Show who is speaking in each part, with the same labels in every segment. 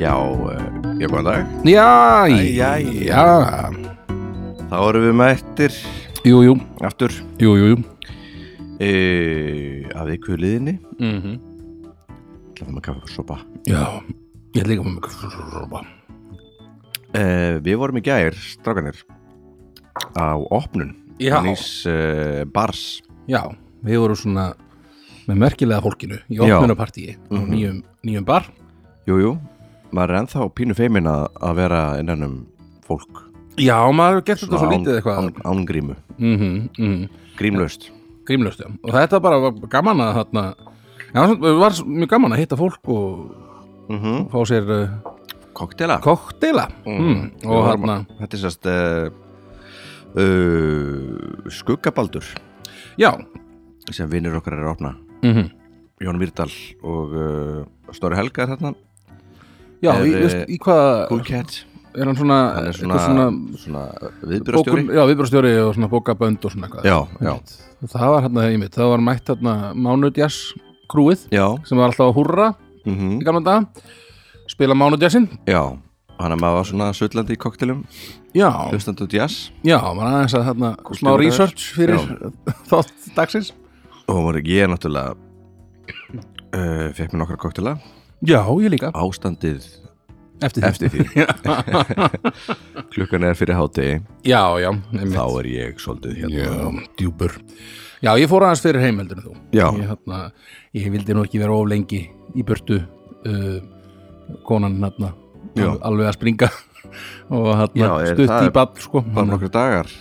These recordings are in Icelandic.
Speaker 1: Já, eh, já, góðan dag.
Speaker 2: Já,
Speaker 1: Æ,
Speaker 2: já,
Speaker 1: æ,
Speaker 2: já,
Speaker 1: Þá erum við mættir
Speaker 2: jú, jú,
Speaker 1: aftur
Speaker 2: jú, jú, jú.
Speaker 1: e, að viku liðinni.
Speaker 2: Mm
Speaker 1: Ætlaðum að kaffa og sopa.
Speaker 2: Já, ég er líka með mjög frópa.
Speaker 1: E, við vorum í gær, strákanir, á opnun.
Speaker 2: Já.
Speaker 1: Nýs e, bars.
Speaker 2: Já, við vorum svona með merkilega fólkinu í
Speaker 1: Já.
Speaker 2: opnunapartíi á nýjum, nýjum bar.
Speaker 1: Jú, jú. Maður er ennþá pínu feimin að, að vera innan um fólk.
Speaker 2: Já, maður hefur gert þetta svo
Speaker 1: Svona
Speaker 2: lítið eitthvað.
Speaker 1: Án, án grímu.
Speaker 2: Mm -hmm, mm
Speaker 1: Grímlaust.
Speaker 2: Grímlaust, já. Og þetta bara var gaman að þarna, já, það var svo mjög gaman að hitta fólk og
Speaker 1: Mm -hmm.
Speaker 2: fá sér uh,
Speaker 1: Koktela.
Speaker 2: kokteila. Mm.
Speaker 1: Við
Speaker 2: Og
Speaker 1: vorum-
Speaker 2: þarna,
Speaker 1: Þetta er sérst uh, uh, skuggabaldur
Speaker 2: já,
Speaker 1: sem vinnir okkar er að opna.
Speaker 2: mm
Speaker 1: Jón Myrdal og uh, Snorri Helga er þarna
Speaker 2: já,
Speaker 1: Er,
Speaker 2: í, veist, í hvað,
Speaker 1: Cool Cat
Speaker 2: er hann svona,
Speaker 1: hann er
Speaker 2: eitthvað
Speaker 1: svona,
Speaker 2: svona
Speaker 1: svona
Speaker 2: Bókun,
Speaker 1: viðbyrjastjóri
Speaker 2: já, viðbjörnstjóri og svona bókabönd og svona eitthvað
Speaker 1: Já, já.
Speaker 2: Það var hérna í mitt, það var mætt hérna Mánudjas krúið
Speaker 1: Já,
Speaker 2: sem var alltaf að húrra
Speaker 1: mm
Speaker 2: í gamla daga spila Mánudjasinn
Speaker 1: já Hann að maður var svona sullandi í koktelum
Speaker 2: Já,
Speaker 1: hlustandi út jazz
Speaker 2: já, maður aðeins að hérna smá
Speaker 1: Kúltúrar.
Speaker 2: research fyrir þátt dagsins
Speaker 1: og voru ég náttúrulega uh, fekk mér nokkra koktela
Speaker 2: Já, ég líka,
Speaker 1: ástandið
Speaker 2: eftir því
Speaker 1: eftir því klukkan er fyrir hátegi
Speaker 2: Já, já, einmitt
Speaker 1: þá er ég svolítið
Speaker 2: Já,
Speaker 1: hérna
Speaker 2: djúpur Já, ég fór aðeins fyrir heimildinu þú
Speaker 1: Já,
Speaker 2: ég, hérna, ég vildi nú ekki vera of lengi í burtu uh, konan hérna
Speaker 1: Já.
Speaker 2: al- alveg að springa og hérna,
Speaker 1: Já, er-
Speaker 2: stutt
Speaker 1: það
Speaker 2: í
Speaker 1: er-
Speaker 2: ball sko.
Speaker 1: það er nokkra dagar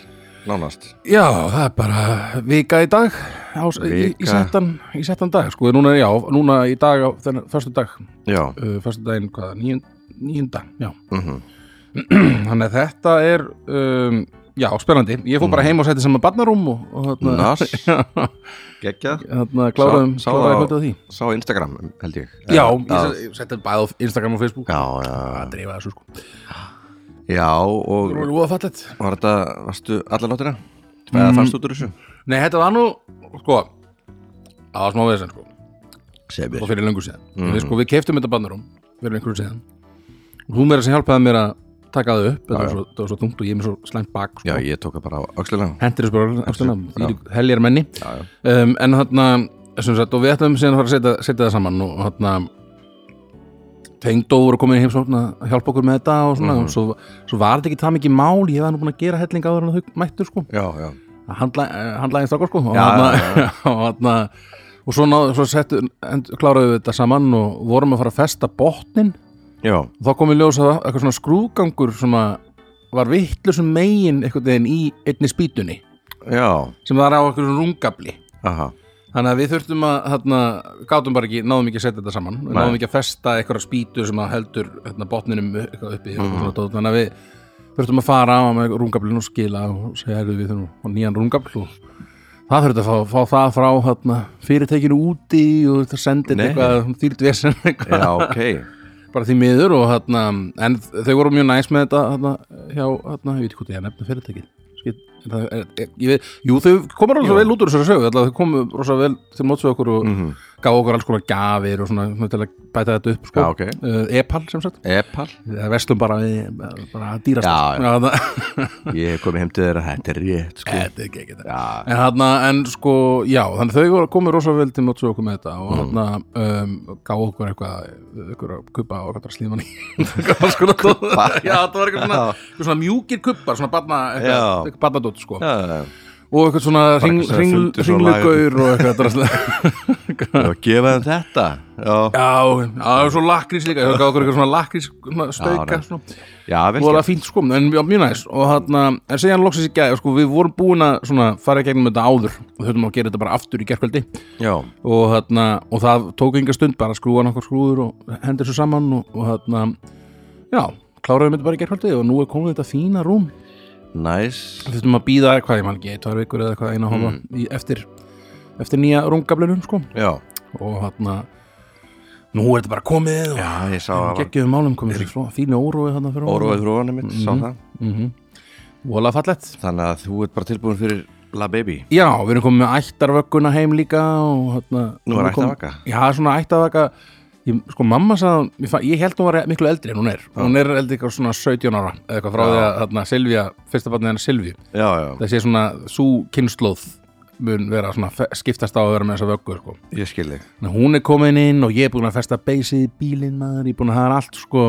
Speaker 1: nánast
Speaker 2: já, það er bara vika í dag á, í, í,
Speaker 1: Vika.
Speaker 2: settan, í settan dag sko. núna, já, núna í dag, á- þennan, förstu dag
Speaker 1: Já,
Speaker 2: uh, förstu daginn, hvað, níund, níunda já,
Speaker 1: mm
Speaker 2: þannig að þetta er um, já, spennandi, ég fór
Speaker 1: Mm.
Speaker 2: bara heim og setti saman barnarúm og, og hérna,
Speaker 1: nas Gekkjað
Speaker 2: hérna kláraðum,
Speaker 1: Sá- sá það
Speaker 2: kláraðum
Speaker 1: á-
Speaker 2: kvöldið á því
Speaker 1: Sá á Instagram held ég
Speaker 2: Já,
Speaker 1: Eh,
Speaker 2: ég se- ég setti bæði á Instagram og Facebook
Speaker 1: Já, já,
Speaker 2: að dreifa þessu sko
Speaker 1: já og
Speaker 2: Nú er það fallet
Speaker 1: var þetta, varstu alla nóttina? Eða fannst út úr þessu?
Speaker 2: Nei, þetta var nú, sko Það var smá veginn sko
Speaker 1: Sebir
Speaker 2: Og fyrir löngu síðan Við sko, við keftum þetta bandarum Fyrir einhverju síðan Og Þú meira sem hjálpaði mér að taka það upp Þetta var svo, þetta var svo þungt og ég er með svo slæmt bak sko.
Speaker 1: Já, ég tók það bara á öxlina
Speaker 2: Hentir þessu bara eftir Heljar menni um, En þarna, sem sagt, og við ætlum síðan að fara að setja, setja það saman Og þarna Tengdó voru komin í heimsókn að hjálpa okkur með þetta
Speaker 1: Mhm.
Speaker 2: og svona, svo, svo var þetta ekki það mikið mál, ég var nú búin að gera helling áður en þau mættur sko.
Speaker 1: Já, já
Speaker 2: handlæðin strákar sko og
Speaker 1: Já,
Speaker 2: hann og, þarna, og svo, ná, svo settu, end, kláraðu við þetta saman og vorum að fara að festa botnin
Speaker 1: Já,
Speaker 2: og þá komið ljós að eitthvað svona skrúgangur sem að var vittlusum megin einhvern veginn í einni spýtunni
Speaker 1: já,
Speaker 2: sem það er á eitthvað svona rungabli
Speaker 1: aha
Speaker 2: þannig að við þurftum að þarna, gátum bara ekki, náðum ekki að setja þetta saman Nei.
Speaker 1: Nei.
Speaker 2: náðum ekki að festa eitthvað spýtu sem að heldur hérna, botninum eitthvað uppi
Speaker 1: Mhm.
Speaker 2: mm -hmm. þannig að við þurftum að fara á með rungablinu og skila og segja "Heyrðu, við þurfum á nýjan rungabl og það þurftum að fá, fá það frá hérna, fyrirtekinu úti og það sendið
Speaker 1: Nei.
Speaker 2: eitthvað þýrt vesen eitthvað,
Speaker 1: Já, ok
Speaker 2: bara því miður og hérna, en þau voru mjög næs með þetta hérna, hjá, hérna, ég veit ekki hvað ég að nefna fyrirtækið Skit, er það, er, er, ég veit, jú, þau komur rosa vel út úr þessari sögu, allavega þau komu rosa vel til móts við okkur og
Speaker 1: Mhm.
Speaker 2: mm gaf okkur alls konar gjafir og svona, svona til að bæta þetta upp sko.
Speaker 1: Já, ok.
Speaker 2: uh, Epal sem sagt,
Speaker 1: Epal
Speaker 2: það vestum bara við bara að dýrast
Speaker 1: Já, já.
Speaker 2: það,
Speaker 1: Ég hef komið heim til þeirra, þetta er rétt sko
Speaker 2: þetta er ekki ekki þetta
Speaker 1: Já,
Speaker 2: En hérna, en sko, já, þannig þau voru- komu rosa vel til móts við okkur með þetta og
Speaker 1: Mhm.
Speaker 2: hérna um, gáðu okkur eitthvað, eitthvað kubba og eitthvað slíman í. kubba? sko Já, það var eitthvað svona, eitthvað svona mjúkir kubbar, svona barna, eitthvað,
Speaker 1: Já.
Speaker 2: eitthvað barnadótt, sko.
Speaker 1: já, já
Speaker 2: Og eitthvað svona hring,
Speaker 1: eitthvað sem
Speaker 2: hring,
Speaker 1: fundu svona
Speaker 2: hringlugaur og eitthvað draslega.
Speaker 1: Já, gefa þeim þetta Já,
Speaker 2: já, já, það var svo lakrís líka, þau gáðu okkur eitthvað svona lakrís, svona stauka,
Speaker 1: nei.
Speaker 2: svona
Speaker 1: já vel
Speaker 2: voru
Speaker 1: gert
Speaker 2: það fínt sko, en já, mjög næst og þarna, en segja hann loksins í gæði sko, við vorum búin að svona, fara í gegnum þetta áður og þurfum að gera þetta bara aftur í gerkvöldi
Speaker 1: Já,
Speaker 2: og, þarna, og það tók enga stund bara að skrúa nokkur skrúður og hendur svo saman og, og þarna, já kláraðum þetta bara í gerkvöldi og nú er komið þetta fína rúm
Speaker 1: næs
Speaker 2: við þurfum að býða hvað ég man ekki, tvær vikur eða hvað eina hóma mm. eftir, eftir nýja rúmgablinum sko
Speaker 1: Já,
Speaker 2: og þarna nú er þetta bara komið og
Speaker 1: já, ég sá að var
Speaker 2: geggjum málum komið svo fínu órói þarna fyrir
Speaker 1: Óróið þróanum mitt,
Speaker 2: Mhm.
Speaker 1: sá það
Speaker 2: vola fallett
Speaker 1: Þannig að þú ert bara tilbúin fyrir La Baby
Speaker 2: Já, við erum komið með ættarvögguna heim líka og hérna
Speaker 1: Nú er ættarvaka?
Speaker 2: Já, svona ættarvaka ég, sko mamma sagði, hún- ég, fa- ég held hún var miklu eldri en hún er, hún er eldri eitthvað svona 17 ára, eða eitthvað frá
Speaker 1: Já.
Speaker 2: því að hérna, Silvía, fyrsta barnið hennar Silvíu
Speaker 1: já, já,
Speaker 2: það sé svona, svo kynnslóð mun vera svona, fe- skiptast á að vera með þessa vöggu, sko,
Speaker 1: ég skil þig
Speaker 2: Þannig að hún er komin inn og ég er búin að festa beysið í bílinn maður, ég er búin að hafa allt, sko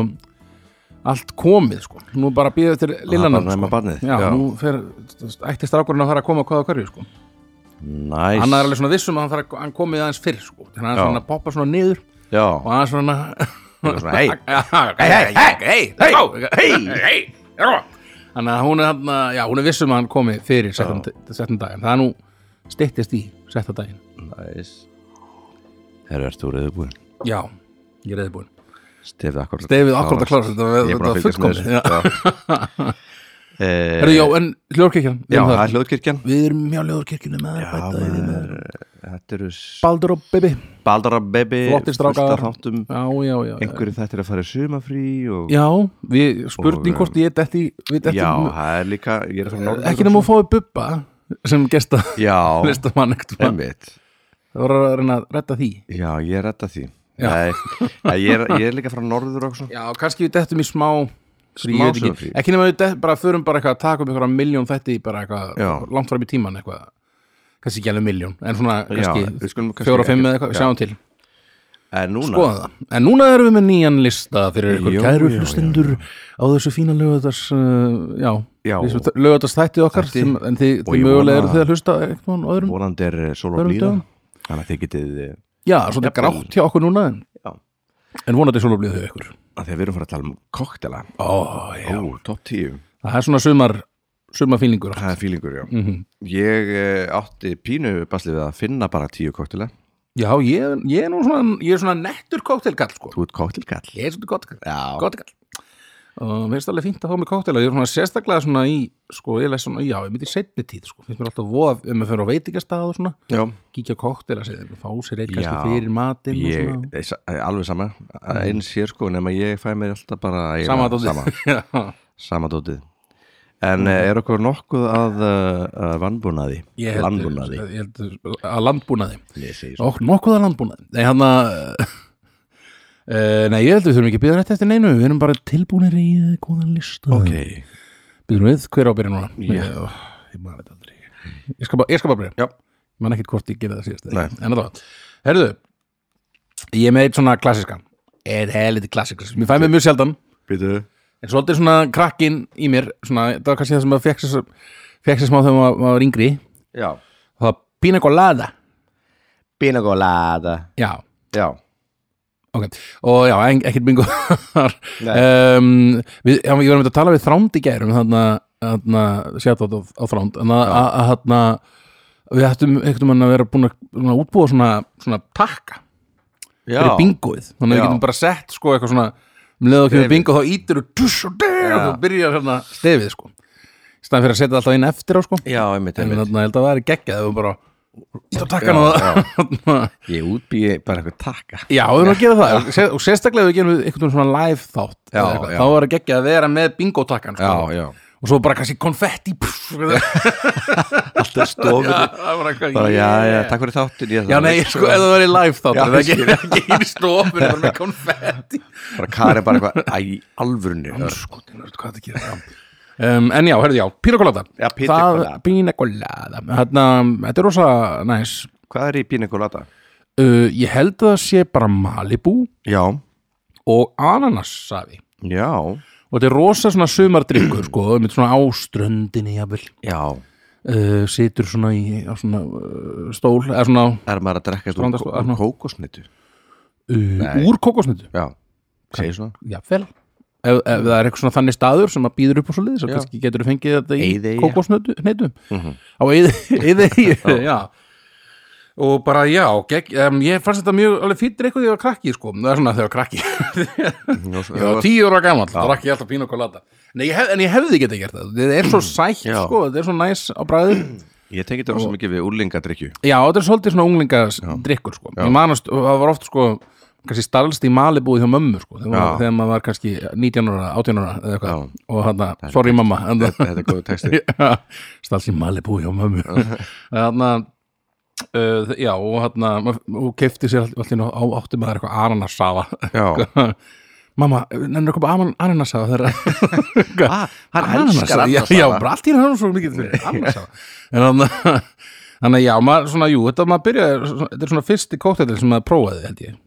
Speaker 2: allt komið, sko, nú er bara að býða eftir lillanum,
Speaker 1: bara næma
Speaker 2: sko,
Speaker 1: barnið,
Speaker 2: já,
Speaker 1: já.
Speaker 2: nú fer ætti strákurinn að fara að koma hvað á hverju, sko
Speaker 1: Næs,
Speaker 2: hann er alveg svona vissum að hann, fara, hann komið aðeins fyrr sko. þannig að
Speaker 1: Já.
Speaker 2: hann er svona að poppa svona niður
Speaker 1: já,
Speaker 2: og hann er svona
Speaker 1: svona, hey.
Speaker 2: hei, hei, hei, hei, hei, hei, hei þannig að hún er, hann, já, hún er vissum að hann komi fyrir settum settum daginn það er nú styttist í setta daginn
Speaker 1: næs Herru, ert þú reyðubúin?
Speaker 2: já, ég er reyðbúin
Speaker 1: Stefið akkurat
Speaker 2: Stefið akkurat að klára þetta,
Speaker 1: Ég er búin
Speaker 2: þetta
Speaker 1: að
Speaker 2: er
Speaker 1: fylgjast með
Speaker 2: fullkomið Já.
Speaker 1: þessu já. Eh,
Speaker 2: Herru, já, en hljóðkirkjan við
Speaker 1: Já,
Speaker 2: erum
Speaker 1: það
Speaker 2: þar.
Speaker 1: er hljóðkirkjan
Speaker 2: við erum hjá hljóðkirkjunni með
Speaker 1: Já,
Speaker 2: að bæta í því með
Speaker 1: maður, eh, Þetta eru
Speaker 2: Baldur og Bibi
Speaker 1: Baldara Baby
Speaker 2: Flottir strákar.
Speaker 1: þáttum
Speaker 2: já, já, já, já,
Speaker 1: Einhverju þetta er að fara í sumafrí og...
Speaker 2: já við spurning
Speaker 1: Og-
Speaker 2: hvort ég detti við detti
Speaker 1: Já, það er líka Ég er að fara norður
Speaker 2: ekki nema að fáið Bubba sem gesta
Speaker 1: Já,
Speaker 2: listamann ekkert mann
Speaker 1: einmitt
Speaker 2: það voru að reyna að retta því
Speaker 1: Já, ég er redda því
Speaker 2: Já.
Speaker 1: Nei, nei, ég, er, ég er líka frá norður og svona
Speaker 2: já, kannski við dettum í smá
Speaker 1: Smá
Speaker 2: frí, ég veit ekki.
Speaker 1: sögufrí.
Speaker 2: ekki nema við dett, bara förum bara eitthvað að taka upp einhverja miljón þetta í bara
Speaker 1: Já.
Speaker 2: eitthvað langt fram í tíman eitthvað kannski ekki alveg miljón, en svona
Speaker 1: við
Speaker 2: kannski
Speaker 1: skulum kannski
Speaker 2: fjóra, fimm
Speaker 1: ekki-
Speaker 2: eða eitthvað,
Speaker 1: já.
Speaker 2: sjáum til
Speaker 1: En núna
Speaker 2: skoða það, en núna erum við með nýjan lista fyrir ykkur
Speaker 1: Jú,
Speaker 2: kæru
Speaker 1: já, já,
Speaker 2: hlustendur á þessu fína lögadags uh, já,
Speaker 1: Já.
Speaker 2: lögadags þættið okkar
Speaker 1: Þætti.
Speaker 2: sem, en þið,
Speaker 1: Og
Speaker 2: þið
Speaker 1: ég vona-
Speaker 2: mögulega eru þið að hlusta eitthvað á öðrum
Speaker 1: Vorandi er eh, sól og
Speaker 2: Förum
Speaker 1: blíða
Speaker 2: dögum.
Speaker 1: Þannig að þið getið eh,
Speaker 2: Já, svona
Speaker 1: Jafnvel.
Speaker 2: grátt hjá okkur núna en,
Speaker 1: Já.
Speaker 2: en vonandi svolum blíðu hjá ykkur
Speaker 1: að Þegar við erum fara að tala um koktela
Speaker 2: Ó, já
Speaker 1: Ó, topp 10
Speaker 2: Það er svona sumar, sumar fílingur
Speaker 1: Það er fílingur, já
Speaker 2: mm
Speaker 1: Ég eh, átti pínu baslið við að finna bara tíu koktela
Speaker 2: Já, ég, ég er nú svona ég er svona nettur kóktelkall sko
Speaker 1: Þú ert koktelkall
Speaker 2: Ég er svona kóktelkall
Speaker 1: Já,
Speaker 2: Kóktelkall og mér finnst alveg fínt að fá mig kóktela ég er svona sérstaklega svona í sko, ég leist svona, já, ég myndi setni tíð sko, finnst mér alltaf voða ef maður fyrir á veitingastað og svona
Speaker 1: já
Speaker 2: kíkja kóktela sér, fá sér eitt kannski
Speaker 1: Já,
Speaker 2: fyrir matinn og
Speaker 1: ég,
Speaker 2: svona
Speaker 1: ég, alveg sama eins hér sko, nema ég fæ mér alltaf bara eiginlega
Speaker 2: Sama dótið
Speaker 1: sama,
Speaker 2: Já.
Speaker 1: sama dótið en eh, er okkur nokkuð að uh, vannbúnaði
Speaker 2: Ég held-
Speaker 1: landbúnaði
Speaker 2: ég held að landbúnaði
Speaker 1: ég segi svo
Speaker 2: Ó, nokkuð að landbúnaði Nei, hann að uh, Nei, ég held við þurfum ekki að býða rétt eftir neinu Við erum bara tilbúinir í eh, góðan lista
Speaker 1: ok,
Speaker 2: Býðum við, hver á að byrja núna?
Speaker 1: Já.
Speaker 2: Ég, ó, ég man þetta aldrei Ég skal bara, ég skal bara byrja
Speaker 1: Já.
Speaker 2: Ég man ekkert hvort ég gerði það síðast
Speaker 1: Nei.
Speaker 2: En það, herðu Ég er með eitt svona klassiskan Eitt heliti klassikas Mér fæ mig mjög sjaldan
Speaker 1: býtu
Speaker 2: En svolítið svona krakkin í mér svona, Það var kannski það sem að fekk sér Fekk sér smá þegar maður, maður var yngri
Speaker 1: já,
Speaker 2: Það var pina colada
Speaker 1: binagolada
Speaker 2: Já,
Speaker 1: já,
Speaker 2: Ok, og já, en- ekkert bingo þar um, við, já, Ég var með að tala við þránd í um gærum þannig að sjátt á, á þránd en að- að að þarna við ættum ekkert um að vera búin að, búin að útbúa svona, svona takka
Speaker 1: já,
Speaker 2: fyrir bingoið, þannig að við
Speaker 1: Já.
Speaker 2: getum bara sett sko eitthvað svona, um leið og kemur
Speaker 1: Stefið.
Speaker 2: bingo þá ítir og duss og der og
Speaker 1: Já.
Speaker 2: þú byrjar hérna stefið sko í staðan fyrir að setja það alltaf inn eftir á sko
Speaker 1: já, einmitt,
Speaker 2: en
Speaker 1: einmitt.
Speaker 2: þannig að held að það er geggjað ef við bara ítir að takkan á
Speaker 1: Já,
Speaker 2: það þarna.
Speaker 1: ég útbýi bara eitthvað takka
Speaker 2: Já, við erum að gera það og sé- og sérstaklega ef við gerum við einhvern veginn svona live þátt eða
Speaker 1: Já,
Speaker 2: eitthvað,
Speaker 1: já.
Speaker 2: þá er ekki ekki að vera með bingotakkan sko.
Speaker 1: já, já,
Speaker 2: og svo bara kannski konfetti pff, já,
Speaker 1: alltaf stofið
Speaker 2: það var eitthvað
Speaker 1: bara, já, já,
Speaker 2: yeah.
Speaker 1: takk fyrir þáttin ég,
Speaker 2: Já, nei, sko, ef það verið live þátt
Speaker 1: Já,
Speaker 2: það er ekki, ekki í stofun bara með konfetti
Speaker 1: bara Kari bara eitthvað, æ, í alvörunni
Speaker 2: Skotin, hvað það gerir um, En já, herrðu, já, pina colada
Speaker 1: Já, pina colada.
Speaker 2: Pina colada Þarna, Þetta er rosa næs
Speaker 1: hvað er í binagolada?
Speaker 2: uh, Ég held að það sé bara Malibu
Speaker 1: já,
Speaker 2: og ananassafi
Speaker 1: já,
Speaker 2: og þetta er rosa svona sumardrykkur sko, með svona áströndinni jafnvel
Speaker 1: já
Speaker 2: uh, situr svona í á svona, uh, stól eða svona
Speaker 1: Er maður að drekka
Speaker 2: Stranda-
Speaker 1: úr, úr
Speaker 2: Arnó.
Speaker 1: kókosnitu?
Speaker 2: uh, úr kokosnutu
Speaker 1: Já, segir svona
Speaker 2: já, fel Ef, ef það er eitthvað svona þannig staður sem að býður upp á svo liðis
Speaker 1: Já.
Speaker 2: og kannski getur þú fengið þetta í
Speaker 1: Eyðeyja.
Speaker 2: kókosnötu á eði Mhm. já og bara já, gegg, um, ég fannst þetta mjög alveg fýttir eitthvað þegar ég var krakki sko, það er svona þegar ég var krakki Ég var tíu ára gammal, það rakk ég alltaf pínu okkur lata Nei, ég hef, En ég hefði getað gert það Þetta er svo sætt,
Speaker 1: Já.
Speaker 2: sko, þetta er svo næs á bræði
Speaker 1: Ég tengi þetta svo mikið við úrlingadrykju
Speaker 2: Já, þetta er svolítið svona unglingadrykkur sko. Ég manast, það var oft sko kannski starlst í malibúið hjá mömmu sko, þegar, maður,
Speaker 1: Já.
Speaker 2: þegar maður var kannski 19 ára, 18 ára eða eitthvað,
Speaker 1: Já.
Speaker 2: og hann að, sorry mamma en það-
Speaker 1: Þetta er góðu texti
Speaker 2: Já, starlst í malibúið hjá mömmu þannig að Uh, þ- já, og hann og kefti sér allt- allt í einu á átti maður eitthvað ananasafa
Speaker 1: Já,
Speaker 2: Mamma, nennir að koma ananasafa þegar
Speaker 1: ah, hann elskar
Speaker 2: já,
Speaker 1: annars
Speaker 2: já, bara allt í hann hann svo mikið fyrir ananasafa En hann Þannig að já, maður svona, jú, þetta maður byrja þetta er svona fyrsti kóktetil sem maður prófaði held ég,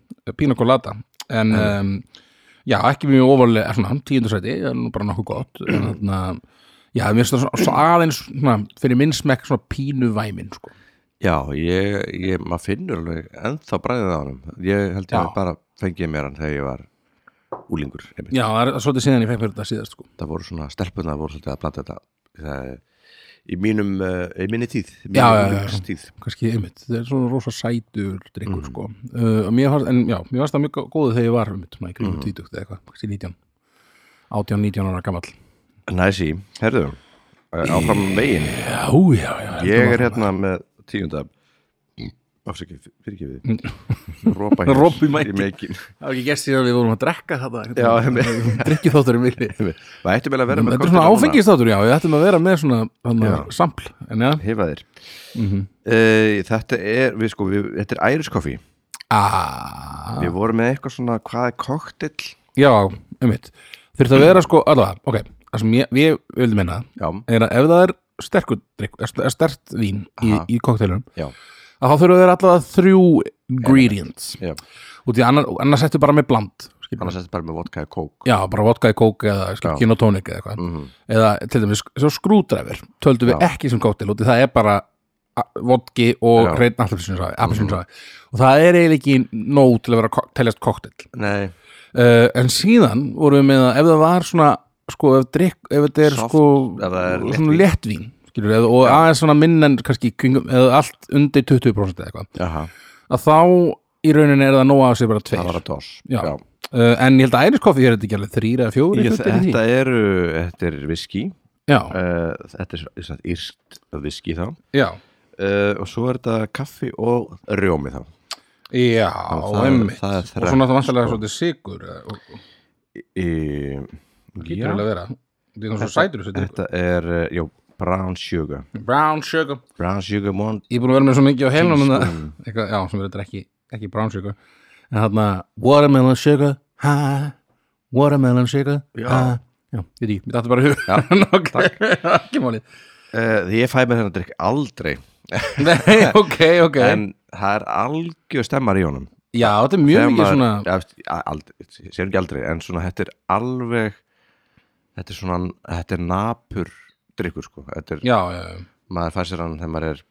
Speaker 2: pína kolata en um, já, ekki mjög ofarlega svona, tíundusæti, en nú bara nokkuð gott en þannig að, já, mér finnst það svona, svona aðeins, svona, fyrir minn smekk svona pínu væmin, sko
Speaker 1: Já, ég, ég, maður finnur alveg ennþá bræðið á honum Ég held ég
Speaker 2: Já.
Speaker 1: að bara fengið mér hann þegar ég var úlingur einmitt.
Speaker 2: Já, það er svolítið síðan ég fekk mér þetta síðast sko.
Speaker 1: Það voru svona stelpunar voru svolítið að blanda þetta það, í mínum, uh, í minni tíð í
Speaker 2: Já, já, já, já.
Speaker 1: minni tíð
Speaker 2: kannski einmitt, þetta er svona rosa sætur drikkur
Speaker 1: Mhm.
Speaker 2: sko uh, og mér varst, en já, mér varst það mjög gó- góður þegar ég var einmitt, svona, í kringum
Speaker 1: Mhm.
Speaker 2: mm. tvítugt eða eitthvað, kannski 19 18, 19 ára gamall
Speaker 1: Næsi, herðu, uh, áfram veginn
Speaker 2: Já, já, já
Speaker 1: Ég er hérna með tíunda afsakið, fyrirgefið Rópa hér
Speaker 2: Ropa
Speaker 1: í
Speaker 2: í mækin.
Speaker 1: mækin
Speaker 2: Það var ekki gert síðan við vorum að drekka hérna. þetta
Speaker 1: Já, einmitt.
Speaker 2: Drikki þátturum villi
Speaker 1: Það ætti vel að vera með
Speaker 2: Þetta er svona
Speaker 1: kokteila núna.
Speaker 2: áfengistátur, já, við ættum að vera með svona hana,
Speaker 1: Já.
Speaker 2: sampl, en já
Speaker 1: Hifa þér
Speaker 2: mm -hmm.
Speaker 1: uh, Þetta er, við sko, við, þetta er æriskoffi
Speaker 2: ah,
Speaker 1: Við vorum með eitthvað svona, hvað er koktill?
Speaker 2: Já, einmitt Fyrir það að vera sko, allavega, ok Það sem ég, ég vildi minna
Speaker 1: Já,
Speaker 2: er að ef það er sterkur drikk, er st- er stert vín í,
Speaker 1: Aha.
Speaker 2: í kokteilum
Speaker 1: já,
Speaker 2: að þá þurfa þeir allavega þrjú ingredients
Speaker 1: já
Speaker 2: og því annar, annars settu bara með bland skilur.
Speaker 1: Annars er þetta bara með vodka og kók
Speaker 2: já, bara vodka í kók eða
Speaker 1: Já.
Speaker 2: kinotónik eða eitthvað
Speaker 1: mm -hmm.
Speaker 2: eða til dæmis svo skrúdræfir töldu við
Speaker 1: Já.
Speaker 2: ekki sem kóttil og því það er bara a- vodki og
Speaker 1: Já. Mhm.
Speaker 2: reyn appelsinsafi og það er eiginlega ekki nóg til að vera kok- teljast koktill
Speaker 1: Nei,
Speaker 2: uh, en síðan vorum við með að ef það var svona sko ef, drikk, ef þetta er
Speaker 1: Soft,
Speaker 2: sko
Speaker 1: ef það er
Speaker 2: svona léttvín skilur, eða, og aðeins svona minn en kannski í kringum, eða allt undir 20% eða eitthvað
Speaker 1: aha,
Speaker 2: að þá í rauninni er það nóg að sér
Speaker 1: það
Speaker 2: bara
Speaker 1: var
Speaker 2: tveir
Speaker 1: að dos
Speaker 2: Já. uh, en ég held að æriskoffi er þetta ekki alveg þrýra eða fjóri
Speaker 1: Ég, þetta eru, þetta er viski
Speaker 2: já,
Speaker 1: uh, Þetta er svona írst viski þá
Speaker 2: já,
Speaker 1: uh, Og svo er þetta kaffi og rjómi þá
Speaker 2: já
Speaker 1: það er-
Speaker 2: einmitt
Speaker 1: það er
Speaker 2: og
Speaker 1: þrennt,
Speaker 2: svona það vantarlega
Speaker 1: sko.
Speaker 2: svolítið sigur eða- og- og
Speaker 1: Í-
Speaker 2: getur alveg að vera þetta er svona svo
Speaker 1: Þetta-
Speaker 2: sætur þessi drikkur.
Speaker 1: Þetta er, uh, já, brown sugar
Speaker 2: brown sugar
Speaker 1: Brown sugar one
Speaker 2: ég er búin að vera með svo mikið á heilnum en það-
Speaker 1: teaspoon.
Speaker 2: eitthvað, já, sem verður þetta ekki, ekki brown sugar en þarna watermelon sugar ha, watermelon sugar
Speaker 1: Já.
Speaker 2: ha. já, ég veit ekki, mér dætti bara í hug ok, ekki máli
Speaker 1: uh, Ég fæ með þennan drikk aldrei
Speaker 2: nei, ok, ok
Speaker 1: En það er algjör stemmar í honum
Speaker 2: já, þetta er mjög mikið svona
Speaker 1: svona Sér ekki aldrei, en svona þetta er alveg Þetta er svona Þetta er napur drikkur sko Þetta er,
Speaker 2: já, já, já
Speaker 1: maður fær sér hann þegar maður er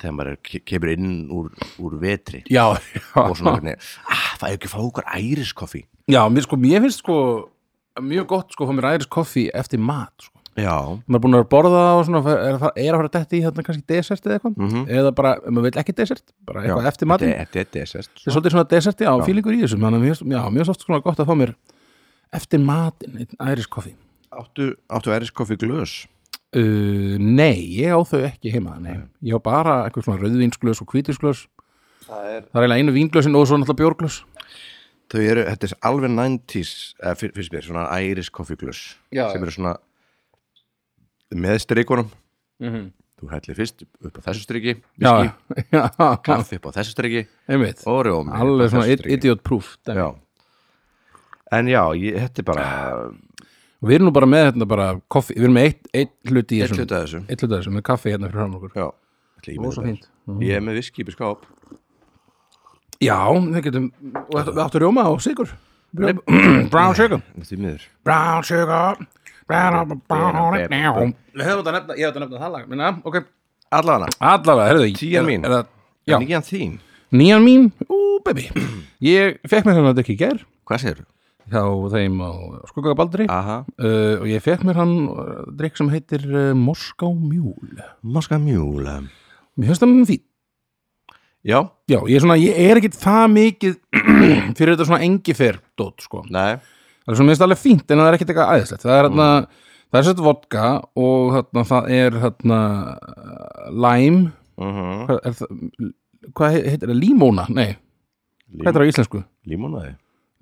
Speaker 1: þegar maður er, ke- kemur inn úr, úr vetri
Speaker 2: Já,
Speaker 1: og svona
Speaker 2: já,
Speaker 1: hvernig, ah, það er ekki að fá okkur æriskoffi
Speaker 2: já mér, sko, mér finnst sko mjög gott sko að fá mér æris koffi eftir mat sko.
Speaker 1: Já,
Speaker 2: maður er búin að borða það og svona er, að fara- er að fara að detti í þarna kannski desert eða eitthvað
Speaker 1: Mhm.
Speaker 2: eða bara, ef maður vil ekki desert bara eitthvað eftir matinn
Speaker 1: þetta þetta er sérst
Speaker 2: þetta er svolítið svona deserti á fílingur í þessu þannig að mér finnst- já, mér finnst oft svona gott að fá mér eftir matinn einn æris koffi
Speaker 1: Áttu, áttu æriskoffi glös?
Speaker 2: uh, nei, ég á þau ekki heima nei. ég á bara eitthvað svona rauðvinsglös og hvítinsglös
Speaker 1: Það er
Speaker 2: það er eiginlega einu vínglösin og svo náttúrulega bjórglös
Speaker 1: Þau eru, þetta er alveg 90s eða fyr- fyrst mér, svona Irish Coffee Glöss
Speaker 2: Já,
Speaker 1: sem
Speaker 2: já.
Speaker 1: eru svona með strikunum
Speaker 2: mm -hmm.
Speaker 1: þú hellir fyrst upp á þessu striki
Speaker 2: já,
Speaker 1: viski,
Speaker 2: já, já,
Speaker 1: kaffi upp á þessu striki
Speaker 2: einmitt
Speaker 1: og rjómi upp á
Speaker 2: alveg svona
Speaker 1: þessu
Speaker 2: id-
Speaker 1: striki.
Speaker 2: idiot proof dæmi.
Speaker 1: Já. En já, ég, þetta er bara
Speaker 2: og við erum nú bara með hérna bara koffi, við erum með eitt, eitt hluti í
Speaker 1: eitt
Speaker 2: þessum
Speaker 1: hluta af þessu
Speaker 2: eitt hluti í þessum, með kaffi hérna fyrir hann okkur
Speaker 1: Já, ætli ég
Speaker 2: og
Speaker 1: með
Speaker 2: svo
Speaker 1: þetta.
Speaker 2: fínt Mhm.
Speaker 1: Ég er með viski í skáp
Speaker 2: já, við getum, og þetta- við áttu rjóma og sigur brown sugar
Speaker 1: Því miður
Speaker 2: brown sugar brown brown it now. við höfum þetta að nefna, ég hef þetta að nefna það lag minna, ok,
Speaker 1: Allavega,
Speaker 2: allavega, herðu
Speaker 1: Tían mín.
Speaker 2: er, það- já,
Speaker 1: nýjan þín
Speaker 2: nýjan mín, ú, baby ég fekk mér hann að ekki í gær
Speaker 1: Hvað segirðu?
Speaker 2: hjá þeim á skuggagabaldri
Speaker 1: Aha,
Speaker 2: uh, og ég fekk mér hann uh, drikk sem heitir uh, Moskó Mjúl
Speaker 1: maska mjúla
Speaker 2: mér finnst það fín
Speaker 1: Já,
Speaker 2: Já, ég er, svona, ég er ekkit það mikið fyrir þetta svona engifer dót, sko.
Speaker 1: nei,
Speaker 2: Það er svona minnst alveg fínt en það er ekkit eitthvað æðislegt. Það er hérna, það er sett vodka og hérna, það er hérna lime,
Speaker 1: uh -huh.
Speaker 2: hvað, er það, hvað he- heitir það, limóna? Nei, hvað heitir það á íslensku?
Speaker 1: límonaði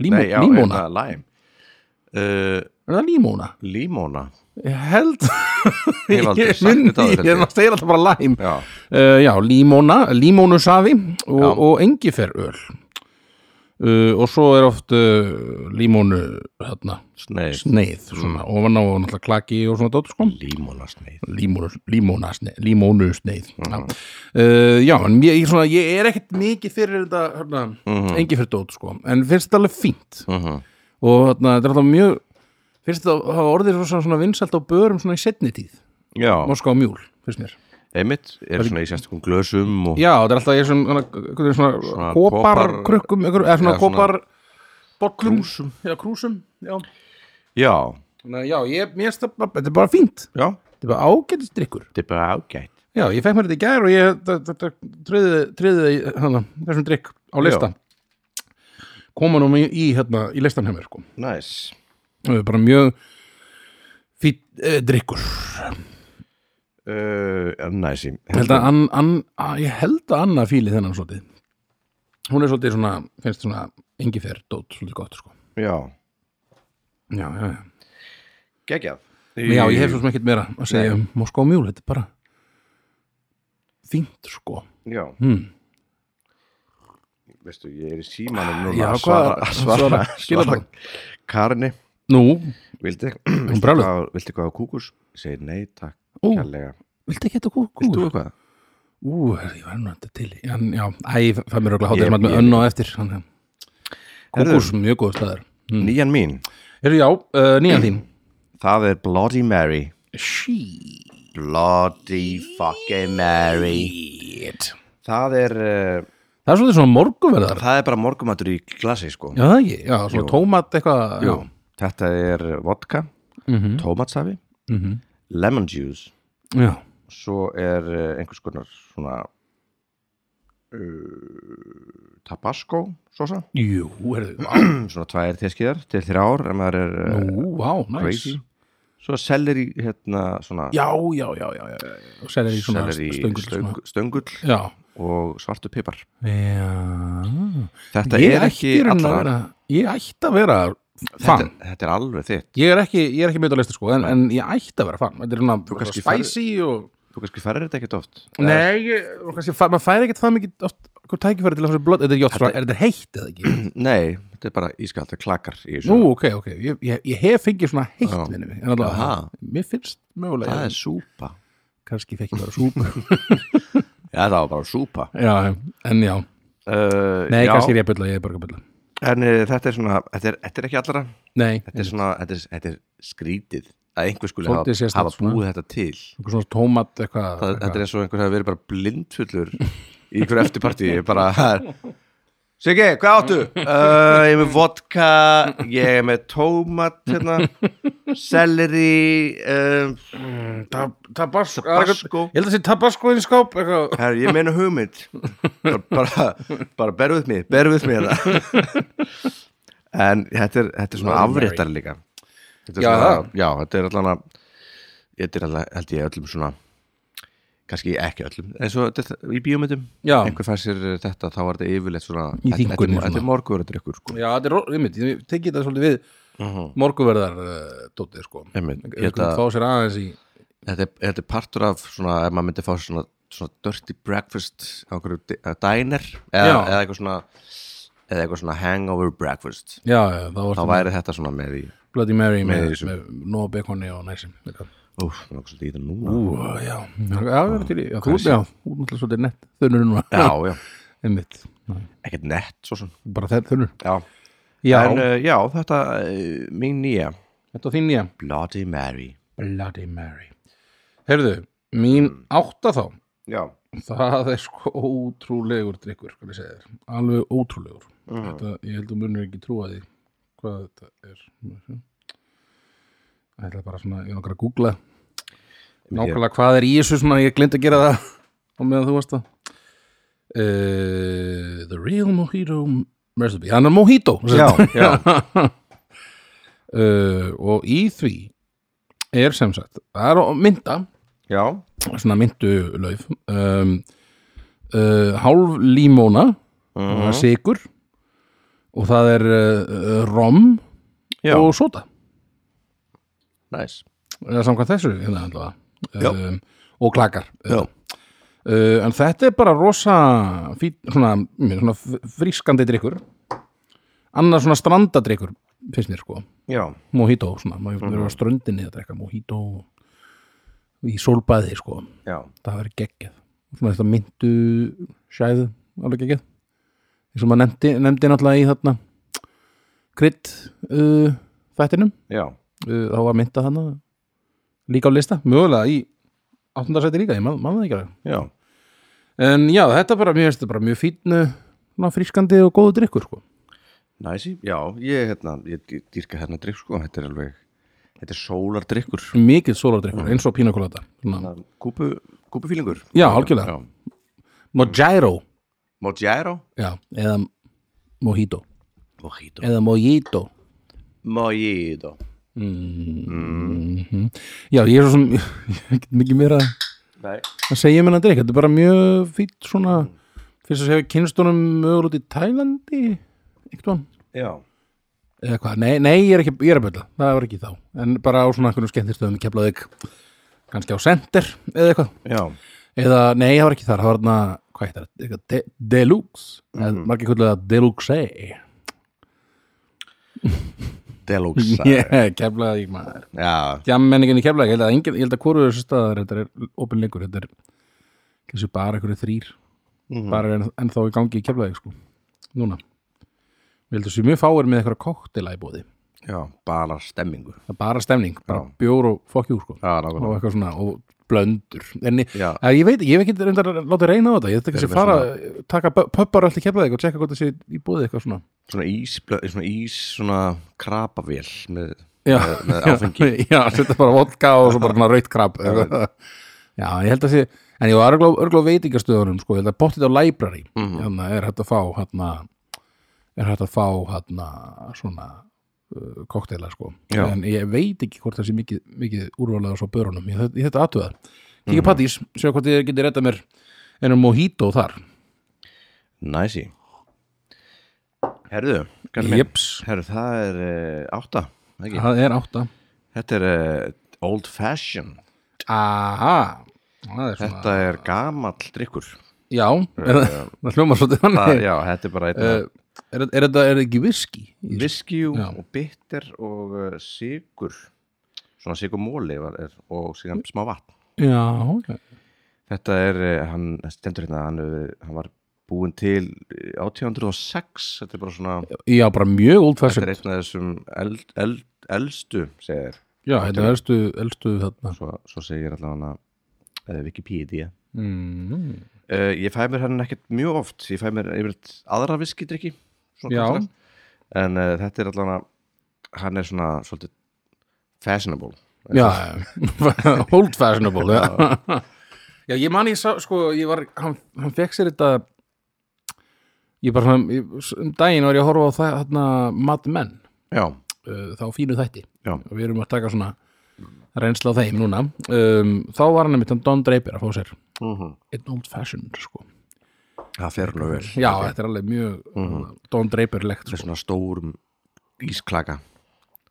Speaker 2: Limó,
Speaker 1: Nei, já,
Speaker 2: limóna,
Speaker 1: hérna, lime uh,
Speaker 2: er það limóna?
Speaker 1: Limóna
Speaker 2: ég held
Speaker 1: Ég hef aldrei
Speaker 2: ég,
Speaker 1: sagt
Speaker 2: minni-
Speaker 1: þetta áður, held
Speaker 2: ég er
Speaker 1: ég.
Speaker 2: náttúrulega segir alltaf bara læm
Speaker 1: já,
Speaker 2: uh, já, límóna, límónusafi og,
Speaker 1: Já.
Speaker 2: og engiferöl uh, og svo er oft uh, límónu hérna,
Speaker 1: sneið
Speaker 2: sneið svona, ofan á og náttúrulega klaki og svona dótt sko
Speaker 1: Límónasneið
Speaker 2: límónusneið límónusneið já. Uh, já, en ég, ég, svona, ég er ekkert mikið fyrir þetta hérna, engiferöl dótt sko en finnst þetta alveg fínt
Speaker 1: uh -huh.
Speaker 2: og hérna, þetta er alltaf mjög finnst þetta hafa orðið svona, svona vinsælt á börum svona í setni tíð,
Speaker 1: Já,
Speaker 2: moska og mjúl finnst mér
Speaker 1: einmitt er svona í sérstökum glösum og
Speaker 2: Já, þetta er alltaf ég svona, svona, svona, svona
Speaker 1: Svona
Speaker 2: kopar
Speaker 1: kopar-
Speaker 2: krukkum, einhver, eða svona
Speaker 1: Já, svona-
Speaker 2: kopar bollum, krúsum, já, krúsum já,
Speaker 1: Já,
Speaker 2: Þannig, að já ég, mér finnst það, bara- þetta er bara fínt
Speaker 1: já,
Speaker 2: þetta er bara ágætist drikkur
Speaker 1: þetta er bara ágætt
Speaker 2: Já, ég fekk mér þetta í gær og ég þetta- þetta tröði það í hana, þessum drikk á lista koma nú í, í, hérna, í listan hefur sko.
Speaker 1: Næs
Speaker 2: Það er bara mjög fýtt eh, drikkur
Speaker 1: uh, Næs, ég
Speaker 2: Ég held að, an, an, að, ég held að Anna fíli þennan svolítið hún er svolítið svona, finnst svona engifer dót svolítið gott sko
Speaker 1: Já,
Speaker 2: já, já, já.
Speaker 1: geggjað
Speaker 2: Nei, já, ég hef svo sem ekkert meira að segja um Moskó mjúl, þetta er bara fínt sko
Speaker 1: Já,
Speaker 2: hmm.
Speaker 1: veistu, ég er í símanum núna
Speaker 2: Já,
Speaker 1: að
Speaker 2: hvað-
Speaker 1: svara, svara,
Speaker 2: svara-
Speaker 1: svara,
Speaker 2: skilaboð.
Speaker 1: Karni,
Speaker 2: nú,
Speaker 1: vildi
Speaker 2: hún
Speaker 1: viltu
Speaker 2: brjáluð,
Speaker 1: hvað, viltu hvað á kúkus? Ég segi nei, takk,
Speaker 2: ú,
Speaker 1: kærlega
Speaker 2: viltu ekki þetta
Speaker 1: Vilt þú
Speaker 2: kúkur?
Speaker 1: eitthvað?
Speaker 2: Ú, ég var nú þetta til í- en, já, æ, það mér auðvitað hátir
Speaker 1: Ég-
Speaker 2: maður með
Speaker 1: ég-
Speaker 2: önn og eftir hann,
Speaker 1: Herðu.
Speaker 2: kúkur, mjög góð staðar mm.
Speaker 1: Nýjan mín,
Speaker 2: Heru, já, uh, nýjan þín
Speaker 1: það er Bloody Mary
Speaker 2: shit
Speaker 1: Bloody fucking Mary Það er, uh,
Speaker 2: það er svolítið svona morgunverðar
Speaker 1: það er bara morgumatur í glasi sko
Speaker 2: Já, það ekki, já, svona tómat eitthvað
Speaker 1: Jú,
Speaker 2: já.
Speaker 1: Þetta er vodka,
Speaker 2: Mhm.
Speaker 1: tómatsafi,
Speaker 2: Mhm.
Speaker 1: lemon juice
Speaker 2: já,
Speaker 1: svo er eh, einhvers konar svona uh, tabasco sosa,
Speaker 2: jú, herðu vá,
Speaker 1: svona tvær teskiðar til þrjár ef maður er uh,
Speaker 2: Nú, vá, næs
Speaker 1: crazy svo selleri hérna svona
Speaker 2: Já, já, já, já, já, já, já. og selir í svona
Speaker 1: selleri
Speaker 2: stöngull svona.
Speaker 1: stöng, stöngull
Speaker 2: Já,
Speaker 1: og svartu pipar
Speaker 2: já
Speaker 1: þetta
Speaker 2: Ég
Speaker 1: er
Speaker 2: ætti
Speaker 1: ekki
Speaker 2: í rauninni að
Speaker 1: allra
Speaker 2: vera Ég ætti að vera
Speaker 1: þetta,
Speaker 2: fan
Speaker 1: þetta er alveg þitt
Speaker 2: Ég er ekki, ég er ekki mjög að lista sko en, en ég ætti að vera fan Þetta er svona
Speaker 1: kannski
Speaker 2: spicy og
Speaker 1: þú kannski færir þetta ekkert oft
Speaker 2: Nei, ég, og kannski, fæ- maður færi ekkert það mikið oft Hvað tækifæri til að þessu blöð Þetta er, jótt, er þetta heitt eða ekki?
Speaker 1: nei, þetta er bara ískalt, það klakar í þessu
Speaker 2: Nú, ok, ok, ég, ég, ég hef fengið svona heitt
Speaker 1: Já.
Speaker 2: minni mig En allavega,
Speaker 1: Aha.
Speaker 2: mér finnst mögulega
Speaker 1: það er súpa
Speaker 2: kannski fekk ég bara súpa
Speaker 1: já, það var bara súpa
Speaker 2: já, en já,
Speaker 1: uh,
Speaker 2: nei,
Speaker 1: já,
Speaker 2: kannski er ég að bylla ég er bara að bylla,
Speaker 1: en uh, þetta er svona þetta er, þetta er ekki allra
Speaker 2: nei,
Speaker 1: þetta er svona, þetta er, þetta er skrítið að einhver skuli hafa,
Speaker 2: Svolítið sérstakt
Speaker 1: hafa
Speaker 2: svona.
Speaker 1: búið þetta til
Speaker 2: einhver svona tómat eitthvað
Speaker 1: það, þetta
Speaker 2: eitthvað.
Speaker 1: er eins og einhver hafi verið bara blindfullur í einhver eftirparti bara Siggi, hvað áttu? Uh, ég er með vodka, ég er með tómat hérna, selleri um,
Speaker 2: Ta- tabasco,
Speaker 1: Tabasco.
Speaker 2: ég held að sé tabasco inn í skáp eitthvað.
Speaker 1: her, ég meina hugmynd bara, bara, bara beru við mig beru við mig hérna. en þetta er, þetta er svona
Speaker 2: Bloody Mary.
Speaker 1: afréttar líka þetta er
Speaker 2: Já,
Speaker 1: svona,
Speaker 2: það.
Speaker 1: já, þetta er allan að þetta er allan, held ég öllum svona kannski ekki öllum eins og þetta er í bíómyndum
Speaker 2: Já.
Speaker 1: einhver fær sér þetta, þá var þetta yfirleitt svona
Speaker 2: Í
Speaker 1: þetta- þetta er-
Speaker 2: þynnkunni
Speaker 1: þetta
Speaker 2: svona.
Speaker 1: er morguröðdrykkur sko.
Speaker 2: já, þetta er, ro- einmitt, ég tekið þetta svolítið við Mhm. morguverðar uh, dótið, sko
Speaker 1: Einmitt,
Speaker 2: Einhver-
Speaker 1: ég held
Speaker 2: einhver
Speaker 1: að-
Speaker 2: fá sér aðeins í
Speaker 1: þetta, er- þetta er partur af svona ef maður myndi fá sér svona, svona dirty breakfast á einhverju di- eh, diner eða,
Speaker 2: Já.
Speaker 1: eða eitthvað svona eða eitthvað svona hangover breakfast
Speaker 2: já, já, þá var
Speaker 1: þá
Speaker 2: þetta
Speaker 1: væri þetta svona með í
Speaker 2: Bloody Mary með,
Speaker 1: Með
Speaker 2: með,
Speaker 1: þessu.
Speaker 2: með nóa bekoni og næsum eitthvað.
Speaker 1: Úf, það er okkur svolítið í það núna
Speaker 2: ú, já, já, já, já, til í- já þú,
Speaker 1: Hvað
Speaker 2: já, þú er náttúrulega svolítið nett þunnur núna,
Speaker 1: Já, já,
Speaker 2: einmitt
Speaker 1: ekkert nett svo sem
Speaker 2: bara þeir þunnur
Speaker 1: Já,
Speaker 2: já,
Speaker 1: en, uh, já þetta uh, mín nýja
Speaker 2: þetta var þín nýja
Speaker 1: Bloody Mary
Speaker 2: Bloody Mary Heyrðu, mín átta þá
Speaker 1: Já,
Speaker 2: það er sko ótrúlegur drikkur, hvað ég segi þér, alveg ótrúlegur þetta, ég held að munur ekki trúa því hvað þetta er ég ætla bara svona, ég er nokkar að googla nákvæmlega hvað er í þessu svona, ég glind að gera það á meðan þú varst það uh, The Real Mojito Recipe, hann er Mojito sem
Speaker 1: já,
Speaker 2: sagt.
Speaker 1: já.
Speaker 2: uh, og í því er sem sagt, það er á mynda
Speaker 1: já.
Speaker 2: svona myndulauf um, uh, hálf límóna
Speaker 1: Mhm.
Speaker 2: það er sigur og það er uh, uh, rom
Speaker 1: Já.
Speaker 2: og sota
Speaker 1: Næs
Speaker 2: eða samkvæmt þessu hérna,
Speaker 1: Já.
Speaker 2: allavega. um, og klakar
Speaker 1: Já.
Speaker 2: Uh, en þetta er bara rosa fít, svona, mm, svona f- frískandi drikkur annars svona strandadrikkur finnst mér sko,
Speaker 1: Já,
Speaker 2: mojito svona, maður mm.
Speaker 1: Mhm.
Speaker 2: verður á ströndinni að drekka mojito í sólbæði sko
Speaker 1: já,
Speaker 2: það verður geggjað svona þetta myndu sjæðu alveg geggjað eins og maður nefndi, nefndi náttúrulega í þarna krydd uh, þættinum
Speaker 1: já
Speaker 2: uh, þá var mynda þarna líka á lista, mögulega í áttundasæti líka, ég man man það ekki alveg
Speaker 1: Já,
Speaker 2: En já, þetta er bara mjög, þetta er bara mjög fín uh, svona frískandi og góðu drikkur sko.
Speaker 1: næsi, já, ég, hérna, ég dý- dýrka hérna drikk sko, þetta er alveg, þetta er sólardrykkur,
Speaker 2: Mikið sólardrykkur, eins og pínakolata svona,
Speaker 1: kúpu, kúpufílingur.
Speaker 2: Já, algjörlega.
Speaker 1: Já.
Speaker 2: Mm. Mojiro,
Speaker 1: Mojero,
Speaker 2: já, eða Mojito,
Speaker 1: mojito,
Speaker 2: eða Mojito
Speaker 1: mojito.
Speaker 2: Já, ég er svo sem, ég get mikið meira
Speaker 1: Nei,
Speaker 2: að segja mér að drikk, þetta er bara mjög fínt svona, fyrst að segja kynstunum mögulega út í Tælandi eitthvað,
Speaker 1: já,
Speaker 2: eða hvað, nei, nei ég, er ekki, ég er að byrla, það var ekki þá en bara á svona einhvernum skemmtistöðum keflaðið kannski á Center eða eitthvað
Speaker 1: já,
Speaker 2: eða, nei, það var ekki þar, það var þarna hvað heitir það, Eitthvað De Deluxe mm. margir kvöldu að Deluxe
Speaker 1: deluxe.
Speaker 2: yeah, keflaði ekki maður
Speaker 1: Já,
Speaker 2: jammenningin í keflaði, ég held að engin, ég held að hvoru þessu staðar, þetta er opin lengur þetta er, kannski bara einhverju þrýr
Speaker 1: Mhm.
Speaker 2: bara en, ennþá í gangi í keflaði sko, núna ég held að sé mjög fáir með eitthvað koktela í bóði
Speaker 1: já, bara stemmingu.
Speaker 2: það er bara stemning, bara
Speaker 1: Já.
Speaker 2: bjór og fokkjú sko,
Speaker 1: Já, nákvæmlega.
Speaker 2: og eitthvað svona, og blöndur en ég,
Speaker 1: Já.
Speaker 2: að, ég veit, ég hef ekki reyndar að láta reyna á þetta ég þetta ekki að
Speaker 1: Erum við
Speaker 2: fara, taka pöppar allt í keflaði og tjekka hvort það sé í búið eitthvað svona
Speaker 1: Svona ís, svona ís, svona krapavél með,
Speaker 2: já,
Speaker 1: með, með áfengi.
Speaker 2: já, setja bara vodka og svo bara svona raut krab já, ég held að sé en ég var örglá, örglá veitingastöðunum sko, ég held að bóttið á library
Speaker 1: Mhm.
Speaker 2: mm er hægt að fá hérna er hægt að fá hérna svona uh, kokteila sko
Speaker 1: Já.
Speaker 2: en ég veit ekki hvort það sé mikið, mikið úrvalega svo börunum, ég, ég þetta aðtöða
Speaker 1: Mhm.
Speaker 2: kíkja mm. pattís, sjá hvort ég geti rettað mér ennum mojito þar
Speaker 1: Næsi. Herðu, kannski minn.
Speaker 2: Jeps,
Speaker 1: Herru, það er uh, átta, ekki?
Speaker 2: það er átta
Speaker 1: Þetta er uh, old fashion.
Speaker 2: Aha, það er svona
Speaker 1: Þetta er gamall drikkur.
Speaker 2: Já, er, það- það hljómar svolítið
Speaker 1: Eh, Það,
Speaker 2: þannig
Speaker 1: já, þetta er bara
Speaker 2: Eh,
Speaker 1: eitthvað uh,
Speaker 2: er, er þetta er þetta ekki viski?
Speaker 1: viskjú
Speaker 2: já.
Speaker 1: og bitter og uh, sigur. Svona sigurmóli var, er, og
Speaker 2: Mm.
Speaker 1: síðan smá vatn.
Speaker 2: Já, ok.
Speaker 1: Þetta er, uh, hann stendur hérna, hann, uh, hann var búin til eh, 1806. Þetta er bara svona,
Speaker 2: já, bara mjög old
Speaker 1: þetta
Speaker 2: fashioned
Speaker 1: er einn af þessum eld, eld, elstu, segir,
Speaker 2: Já, þetta er elstu, elstu þarna
Speaker 1: svo, svo segir allavega uh, Wikipedia.
Speaker 2: mm.
Speaker 1: Uh, ég fæ mér hann ekkert mjög oft ég fæ mér yfirleitt aðra viskidrykki svona
Speaker 2: Já.
Speaker 1: kallar. en uh, þetta er allan að hann er svona svolítið fashionable
Speaker 2: Já, já. old fashionable Já, já ég man ég sá, sko, ég var hann, hann fekk sér þetta ég bara svona, ég, um daginn var ég að horfa á það, þarna Mad Men
Speaker 1: já,
Speaker 2: uh, þá fínu þætti
Speaker 1: já,
Speaker 2: og við erum að taka svona reynsla á þeim núna um, þá var hann einmitt hann Don Draper að fá sér
Speaker 1: Mhm.
Speaker 2: einn old fashioned, sko
Speaker 1: það fer nú vel
Speaker 2: Já, þetta er alveg mjög
Speaker 1: Mhm.
Speaker 2: Don Draper-legt
Speaker 1: með svona stórum ísklaka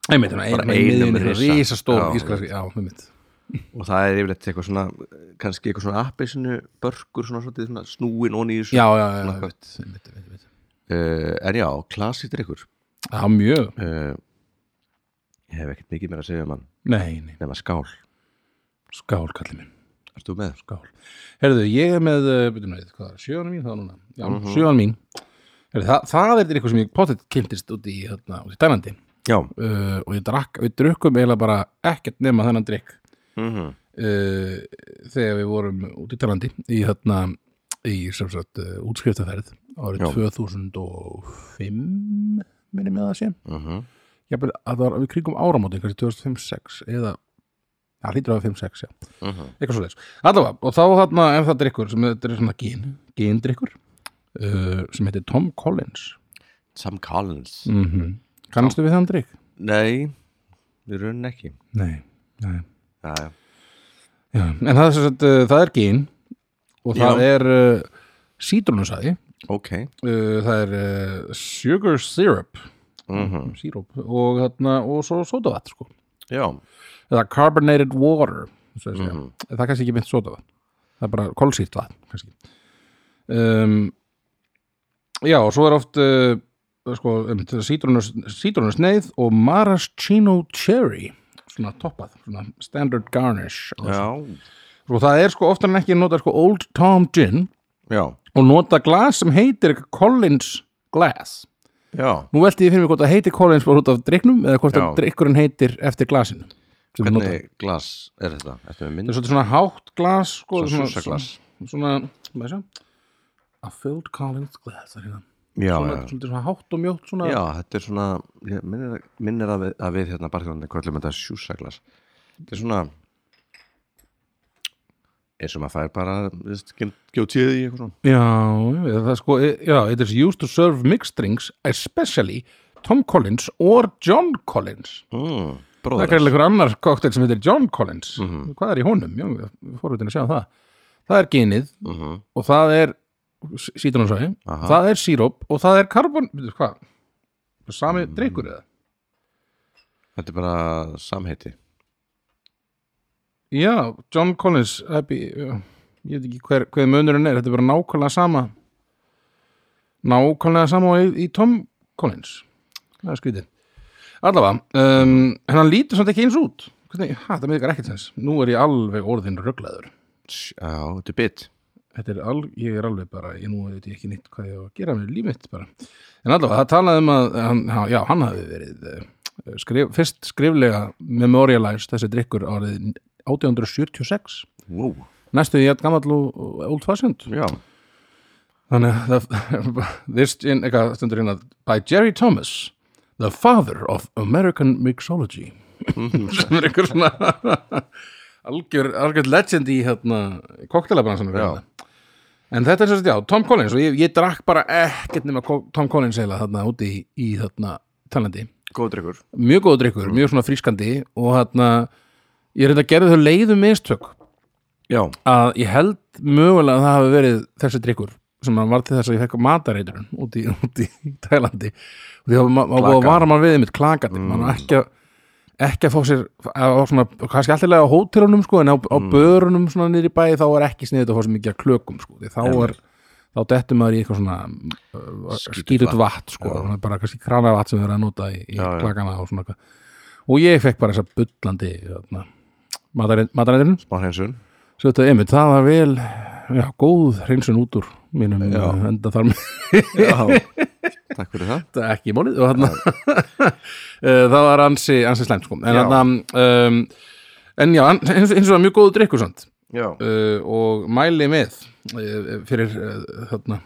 Speaker 2: einmitt, svona
Speaker 1: Bara
Speaker 2: einum í
Speaker 1: einum
Speaker 2: miðjunni,
Speaker 1: risa.
Speaker 2: svona risastór
Speaker 1: Já.
Speaker 2: ískraski, já, einmitt
Speaker 1: og það er yfirleitt eitthvað svona kannski eitthvað svona appisinu börkur svona, svona, svona snúin og nýjus
Speaker 2: já, já, já,
Speaker 1: Nokkuð.
Speaker 2: einmitt, einmitt, einmitt, einmitt.
Speaker 1: uh, en já, klassítrykkur
Speaker 2: já, mjög,
Speaker 1: uh, ég hef ekkert mikið meira að segja um hann
Speaker 2: nei, nei,
Speaker 1: nema skál,
Speaker 2: skál kallið minn,
Speaker 1: ertu með?
Speaker 2: skál herðu, ég er með, uh, byrjum við, hvað er sjöðan mín þá núna, já, mm sjöðan mín herðu, það, það er eitthvað sem ég pottet kynntist út í, þarna, út í Dælandi
Speaker 1: Já,
Speaker 2: uh, og ég drakk, við drukkum eiginlega bara ekkert nema þennan drikk
Speaker 1: mm -hmm.
Speaker 2: uh, þegar við vorum út í Talandi í þarna í sem sagt uh, útskriftafærið árið
Speaker 1: Já.
Speaker 2: 2005 minni með það sé
Speaker 1: Mhm.
Speaker 2: Jafnvel, að það var við kringum áramóti kannski 2005-6 eða það hlýtur að 5-6 já, eitthvað svo leis allavega, og þá þarna er það drikkur sem þetta er svona gin, gin drikkur uh, sem heitir Tom Collins
Speaker 1: Sam Collins
Speaker 2: mm kannastu við þann drikk?
Speaker 1: Nei, við raunin ekki
Speaker 2: Nei, nei
Speaker 1: Já, já,
Speaker 2: Já, en það er, sem sagt, uh, það er gin og það
Speaker 1: Já.
Speaker 2: er uh, sítrunusæði
Speaker 1: ok
Speaker 2: uh, það er uh, sugar syrup
Speaker 1: mm -hmm.
Speaker 2: sírup og, þarna, og svo sótavat sko.
Speaker 1: já,
Speaker 2: eða carbonated water mm
Speaker 1: Mhm.
Speaker 2: -hmm. það er kannski ekki mynd sotavatn það er bara kolsýrt vatn kannski um, já og svo er oft uh, sko, um, sítrunus, sítrunusneið og maraschino cherry svona toppað, svona standard garnish
Speaker 1: já,
Speaker 2: og það er sko oftar en ekki nota sko Old Tom Gin
Speaker 1: já,
Speaker 2: og nota glas sem heitir Collins Glass
Speaker 1: já.
Speaker 2: nú velti ég fyrir mig hvort það heitir Collins bara út af driknum eða hvort
Speaker 1: Já.
Speaker 2: að drikkurinn heitir eftir glasinu sem þú notar.
Speaker 1: Hvernig glas er þetta? Ertu með
Speaker 2: það
Speaker 1: mynd?
Speaker 2: er svolítið svona hátt glas sko,
Speaker 1: Svona súrsaglas.
Speaker 2: svona, svona sjá, a filled Collins glass það er hérna
Speaker 1: Já,
Speaker 2: svona,
Speaker 1: já.
Speaker 2: svolítið svona hátt og mjótt svona,
Speaker 1: Já, þetta er svona, ég minnir, minnir að, við, að við hérna barþjóðanir kvöldum þetta sjúsaglas. Þetta er svona, eins og maður fær bara, veist, gjótið í eitthvað svona.
Speaker 2: já, já, það er sko já, it is used to serve mixed drinks especially Tom Collins or John Collins
Speaker 1: Mm,
Speaker 2: Það er Mhm.
Speaker 1: bróður.
Speaker 2: greinlega einhver annar koktel sem heitir John Collins Hvað er í honum? Já, við fóruðin að sjá það Það er genið og það er sítrunasæði,
Speaker 1: Mhm, Aha.
Speaker 2: það er síróp og það er karbon, veitir hvað sami dreikur eða?
Speaker 1: Þetta er bara samheiti.
Speaker 2: Já, John Collins happy, já, ég veit ekki hver, hver munurinn er, þetta er bara nákvæmlega sama nákvæmlega sama og í, í Tom Collins Það er skrítið Allavega, um, en hann lítur samt ekki eins út Hvernig, ha, það meðikar ekkert sens Nú er ég alveg orðin rögglaður
Speaker 1: Tss, Já, þetta er bit.
Speaker 2: þetta er al, ég er alveg bara, ég nú veit ég ekki neitt hvað ég á að gera með líf mitt bara en allavega, það talaði um að hann, hann- já, hann hafi verið eh, skrif, fyrst skriflega memorialized þessi drikkur árið 1876
Speaker 1: Wow.
Speaker 2: næstu ég að gamall og og old fashioned
Speaker 1: Já,
Speaker 2: þannig að það this gin, eitthvað stundur hérna by Jerry Thomas the father of American mixology sem er einhver svona algjör, algjör legend í hérna koktelabaransanum
Speaker 1: Já.
Speaker 2: en þetta er svo að já, Tom Collins og ég, ég drakk bara ekkert nema ko- Tom Collins eila þarna úti í, í þarna talandi
Speaker 1: góð drikkur.
Speaker 2: mjög góð drikkur, mjög svona frískandi og þarna ég reynda að gera þau leiðu mistök
Speaker 1: Já,
Speaker 2: að ég held mögulega að það hafi verið þessi drikkur sem hann var til þess að ég fekk matareiturinn út í, út í Tælandi og því að ma- maður búið að
Speaker 1: Klakan.
Speaker 2: vara mann við einmitt klakandi, mm. maður á ekki að ekki að fá sér, að, á svona, kannski allirlega á hótelunum sko, en á, á börunum svona niður í bæ, þá er ekki sniðið að fá sér mikið að klökum sko, því þá er þá dettum maður í eitthvað svona uh, skýrut vatn sko, svona bara kannski kranavatn sem við erum að nota í, í
Speaker 1: Já, já.
Speaker 2: klakana og svona eitthvað. og ég fekk bara þessa bullandi hérna, matareiturinn
Speaker 1: smá hreinsun.
Speaker 2: Svo þetta einmitt, það var vel já, góð hreinsun út úr mínum eh, enda þar með
Speaker 1: Já, takk fyrir það.
Speaker 2: þetta ekki málið og hann það var ansi, ansi slæmt sko en,
Speaker 1: Já.
Speaker 2: hann, um, en já, hann- eins, eins og það mjög góðu drikkur samt
Speaker 1: Já,
Speaker 2: uh, og mæli með uh, fyrir uh, þarna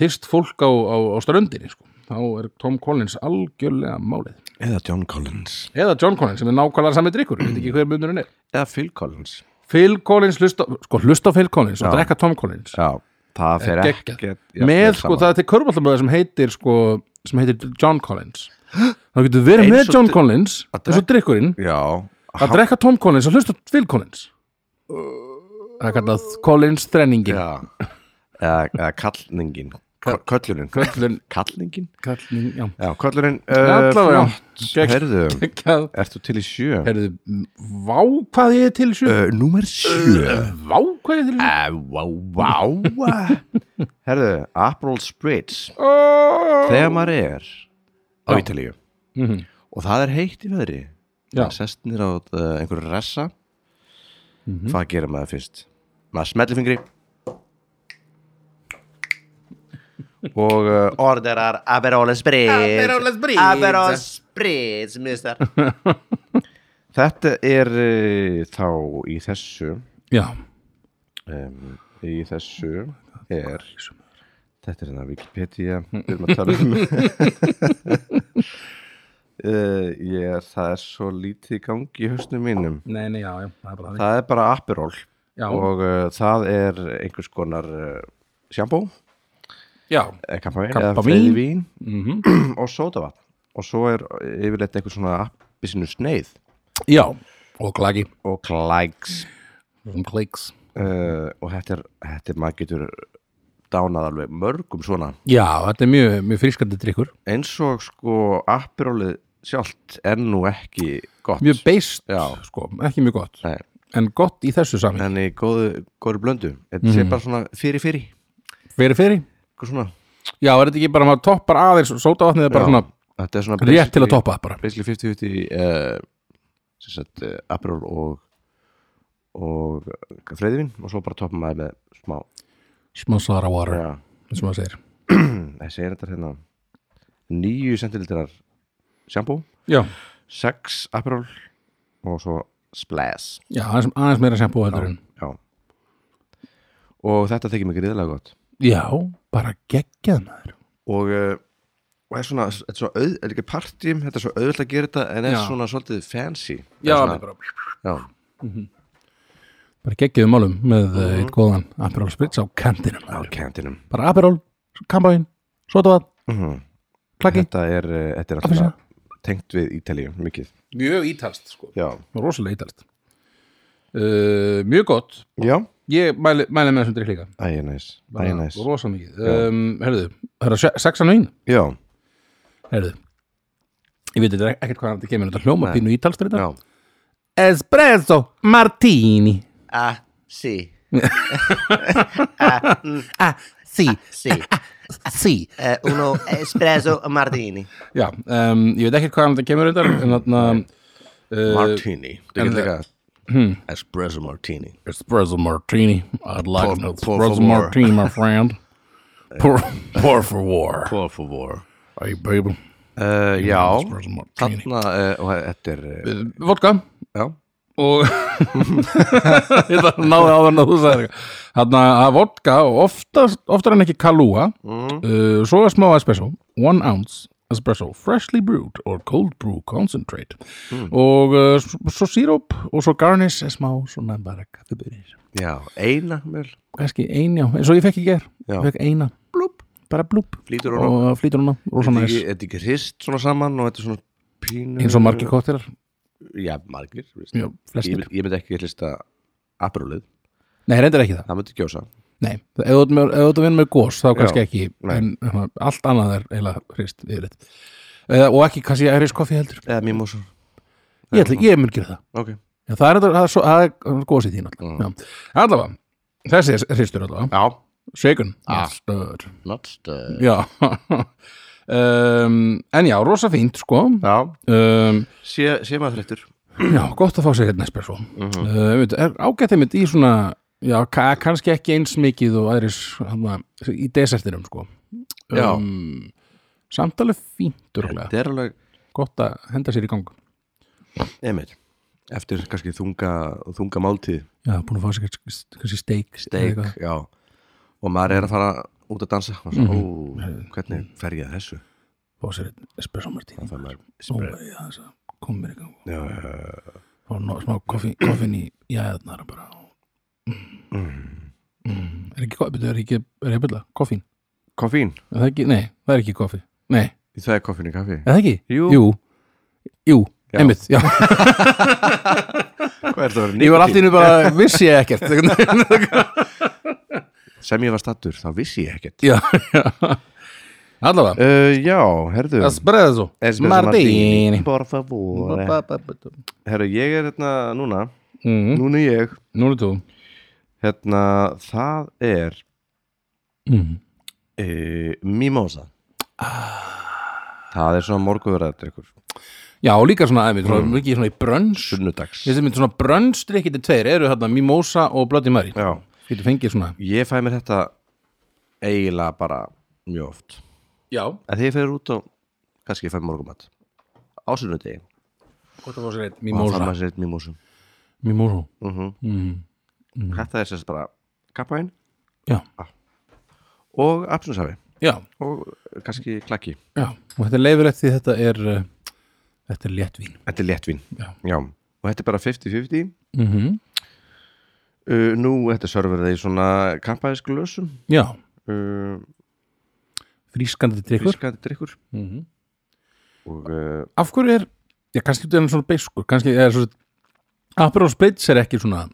Speaker 2: þyrst fólk á, á, á ströndinni sko þá er Tom Collins algjörlega málið
Speaker 1: eða John Collins.
Speaker 2: eða John Collins sem er nákvæmlega sami drikkur, ég veit ekki hver munurinn er
Speaker 1: Eða Phil Collins.
Speaker 2: Phil Collins, hlusta, sko hlusta á Phil Collins og drekka Tom Collins
Speaker 1: Já, það fer
Speaker 2: geggjað.
Speaker 1: ekki.
Speaker 2: með sko, það er til körbállamöðu sem heitir sko, sem heitir John Collins þá getur við verið
Speaker 1: Eins
Speaker 2: með
Speaker 1: og
Speaker 2: John
Speaker 1: dri-
Speaker 2: Collins
Speaker 1: að
Speaker 2: eins og drikkurinn,
Speaker 1: Já,
Speaker 2: að drekka Tom Collins og hlusta á Phil Collins það er kallað Collins þrenningin
Speaker 1: Já, eða, eða kallningin Kö- Köllunin
Speaker 2: Köllun-
Speaker 1: Kallningin?
Speaker 2: kallning, já
Speaker 1: Já, eh, köllurinn
Speaker 2: Allavega, gegn-
Speaker 1: Herðu,
Speaker 2: Kall-
Speaker 1: ertu til í sjö?
Speaker 2: Herðu, vá hvað ég er til sjö
Speaker 1: Uh, númer sjö
Speaker 2: Vá hvað ég er til sjö
Speaker 1: Vá, vá Herðu, April Spritz
Speaker 2: Ó, Mhm.
Speaker 1: Þegar maður er á Ítalíu Og það er heitt í veðri
Speaker 2: Já.
Speaker 1: Það Sest nýr á uh, einhverju ressa
Speaker 2: Mhm.
Speaker 1: Hvað gerir maður fyrst? Maður smellir fingri Og uh, orderar Aperol Spritz
Speaker 2: Aperol Spritz.
Speaker 1: Aperol Spritz, mister Þetta er uh, þá í þessu
Speaker 2: Já,
Speaker 1: um, í þessu er þetta er hérna Wikipedia við erum að tala um uh, ég er það er svo lítið í gangi í hausnum mínum
Speaker 2: nei, nei, já, já, það er bara það
Speaker 1: það er bara Aperol
Speaker 2: Já.
Speaker 1: og uh, það er einhvers konar uh, sjambó,
Speaker 2: Já,
Speaker 1: eh, kampavín
Speaker 2: Kampavín. Mhm.
Speaker 1: eða freyðivín og sótavatn og svo er yfirleitt einhver svona appisinu sneið
Speaker 2: já, og klagi
Speaker 1: og klægs
Speaker 2: Svona klíks
Speaker 1: uh, og þetta er, þetta er maður getur dánað alveg mörgum svona
Speaker 2: Já, þetta er mjög, mjög frískandi drikkur
Speaker 1: eins og sko Aperolið sjálft er nú ekki gott
Speaker 2: mjög beist,
Speaker 1: Já.
Speaker 2: sko, ekki mjög gott
Speaker 1: Nei.
Speaker 2: en gott í þessu saman
Speaker 1: en í góðu, góðu blöndu þetta
Speaker 2: Mhm.
Speaker 1: sé bara svona fyrir fyrir
Speaker 2: fyrir fyrir,
Speaker 1: eitthvað svona
Speaker 2: já, er þetta ekki bara að maður toppar aðeins sótavatnið er
Speaker 1: Já.
Speaker 2: bara svona
Speaker 1: þetta er svona
Speaker 2: rétt til
Speaker 1: basically-
Speaker 2: að toppa það bara
Speaker 1: basically 50-50 uh, sem sagt uh, Aperol og og freyðivinn og svo bara toppum maður með smá
Speaker 2: smá sara water,
Speaker 1: já,
Speaker 2: eins og maður segir
Speaker 1: það segir þetta hérna 9 centilitrar sjambú,
Speaker 2: já,
Speaker 1: 6 Aperol og svo Splash
Speaker 2: já aðeins, aðeins meira sem búið heldur en
Speaker 1: já og þetta þykir mig gríðlega gott
Speaker 2: já, bara geggjað maður
Speaker 1: og, uh, og er svona, þetta er svona auð, er ekki partím, þetta er svo auðvitað að gera þetta en er
Speaker 2: Já.
Speaker 1: svona svolítið fancy Það
Speaker 2: já,
Speaker 1: er svona,
Speaker 2: bara,
Speaker 1: já,
Speaker 2: bara geggjuðum málum með mm
Speaker 1: Mhm.
Speaker 2: eitt góðan Aperol Spritz á kantinum
Speaker 1: á
Speaker 2: maður.
Speaker 1: kantinum
Speaker 2: bara Aperol, kambáin, sótavatn
Speaker 1: mm
Speaker 2: klakki,
Speaker 1: þetta er, uh, þetta er
Speaker 2: Appelsína?
Speaker 1: alltaf tengt við Ítalíu mikið
Speaker 2: mjög ítalst sko,
Speaker 1: já,
Speaker 2: rosalega ítalst uh, mjög gott
Speaker 1: já,
Speaker 2: ég mæli, mæli með þessum drikk líka
Speaker 1: ægir næs ægir næs,
Speaker 2: rosa mikið um, herðu, herðu, se- sexan og einn
Speaker 1: já,
Speaker 2: herðu ég veit þetta ekkert hvað þetta kemur þetta hljóma pínu ítalst þetta
Speaker 1: já
Speaker 2: espresso martini
Speaker 1: ah, sí,
Speaker 2: ah, sí,
Speaker 1: sí
Speaker 2: sí
Speaker 1: eh, uno espresso martini
Speaker 2: já, um, ég veit ekkert hvað þetta kemur þetta en þarna uh,
Speaker 1: martini, þú getur líka
Speaker 2: eh, hmm.
Speaker 1: espresso martini
Speaker 2: espresso martini I'd like an
Speaker 1: Por- por
Speaker 2: espresso
Speaker 1: favor.
Speaker 2: martini my friend por, por favor
Speaker 1: por favor
Speaker 2: hey baby
Speaker 1: uh, já,
Speaker 2: espresso martini
Speaker 1: þarna uh, og þetta er, uh,
Speaker 2: vodka
Speaker 1: já
Speaker 2: og ég þarf að náði áður en að þú sagði hann að vodka og oftast, oftar en ekki kalúa
Speaker 1: Mm.
Speaker 2: uh, svo er smá espresso one ounce espresso freshly brewed or cold brew concentrate
Speaker 1: Mm.
Speaker 2: og uh, s- svo síróp og svo garnish er smá svona bara kaffibyrðir
Speaker 1: Já, eina mjöl
Speaker 2: kannski ein já, eins og ég fekk í ger
Speaker 1: Já.
Speaker 2: ég fekk eina blúb, bara blúb
Speaker 1: Flýtur hún á.
Speaker 2: og flýtur hún á, rosa
Speaker 1: Þetta er
Speaker 2: næs
Speaker 1: ekki- þetta er ekki hrist svona saman og þetta er svona pínu
Speaker 2: eins og margir kóttirar,
Speaker 1: Já, margir þú veist.
Speaker 2: já,
Speaker 1: Ég,
Speaker 2: flestir
Speaker 1: mynd- ég myndi ekki hlista aprúlið,
Speaker 2: nei, reyndar ekki það
Speaker 1: það myndi gjósa
Speaker 2: Nei, ef þú ert með- ef þú ert að vinna með gós þá kannski ekki,
Speaker 1: nei.
Speaker 2: en hérna, allt annað er eiginlega hrist yfirleitt Eða, og ekki kannski hrist koffi heldur
Speaker 1: Eða mimosa
Speaker 2: ég, ætla, ég mun gera það,
Speaker 1: okay.
Speaker 2: já, það er, það er, svo- það er gósið þín
Speaker 1: Mm.
Speaker 2: alltaf já. allavega, þessi er hristur allavega
Speaker 1: Já,
Speaker 2: shaken,
Speaker 1: Ah.
Speaker 2: stöður
Speaker 1: not uh,
Speaker 2: já um, en já, rosa fínt sko
Speaker 1: Já,
Speaker 2: um,
Speaker 1: sé, sé maður þreyttur
Speaker 2: já, gott að fá sér hérna espresso mm
Speaker 1: Mhm.
Speaker 2: -hmm. uh, ágættið mitt í svona já, ka kannski ekki eins mikið og aðris hana, í desertinum sko Um,
Speaker 1: Já,
Speaker 2: samt alveg fínt örgulega
Speaker 1: þetta er alveg
Speaker 2: gott að henda sér í gang
Speaker 1: einmitt Eftir kannski þunga, þunga máltíð
Speaker 2: já, búin að fá sér kannski- kannski steik
Speaker 1: Steik, já Og maður er að fara út að dansa og svo,
Speaker 2: Mhm.
Speaker 1: ó, Hvernig fer ég að þessu?
Speaker 2: fá sér einn espresso martini
Speaker 1: Það maður
Speaker 2: og ég aðeins að koma mér í gang
Speaker 1: Já, já, já, já.
Speaker 2: fá ná- smá koffi, koffin í jæðnar bara og-
Speaker 1: Mhm.
Speaker 2: mm. er ekki koffi, er ekki er ég að byrla, koffin,
Speaker 1: Koffín,
Speaker 2: er það ekki, nei, það er ekki koffi nei,
Speaker 1: það er koffín í kaffi
Speaker 2: er það ekki?
Speaker 1: Jú.
Speaker 2: jú, jú
Speaker 1: Já.
Speaker 2: einmitt, já,
Speaker 1: Hvað er það að vera
Speaker 2: ég var alltaf innu bara vissi ég ekkert
Speaker 1: sem ég var stattur, þá vissi ég ekkert
Speaker 2: já, já allavega,
Speaker 1: uh, Já, herðu
Speaker 2: espresso
Speaker 1: Espresso
Speaker 2: martini
Speaker 1: Por favor Herru, ég er hérna núna
Speaker 2: Mm,
Speaker 1: Núna er ég
Speaker 2: Núna er þú
Speaker 1: Hérna, það er
Speaker 2: mm.
Speaker 1: uh, Mimosa Það er svona morguverðardrykkur
Speaker 2: Já, og líka svona aðeins, svona, mm. svona í brönns
Speaker 1: Sunnudags
Speaker 2: Þessi mynd svona brönnsdrykkið til tveir eru hérna Mimosa og Bloody Mary
Speaker 1: Já,
Speaker 2: Getur fengið svona
Speaker 1: ég fæ mér þetta eiginlega bara mjög oft
Speaker 2: Já,
Speaker 1: En þegar ég fer út á kannski ég fæ morgumat á sunnudegi
Speaker 2: gott að fá sér eitt
Speaker 1: og það
Speaker 2: Mimosa
Speaker 1: maður sér eitt mimosa
Speaker 2: Mimosa
Speaker 1: Þetta er sérst bara kappaðin
Speaker 2: Já,
Speaker 1: og absunsafi
Speaker 2: já,
Speaker 1: og kannski klakki
Speaker 2: já Og þetta er leifilegt því þetta er uh, Þetta er léttvín
Speaker 1: Þetta er léttvín
Speaker 2: Já.
Speaker 1: Og þetta er bara 50-50
Speaker 2: mm
Speaker 1: uh, Nú, þetta server það í svona kampaðisglösum
Speaker 2: Já,
Speaker 1: uh,
Speaker 2: frískandi drykkur
Speaker 1: Fískandi drikkur
Speaker 2: Mhm.
Speaker 1: Og uh,
Speaker 2: Af hverju er, já, kannski þetta er hann svona beiskur Kannski er svona Aperol Spritz er ekki svona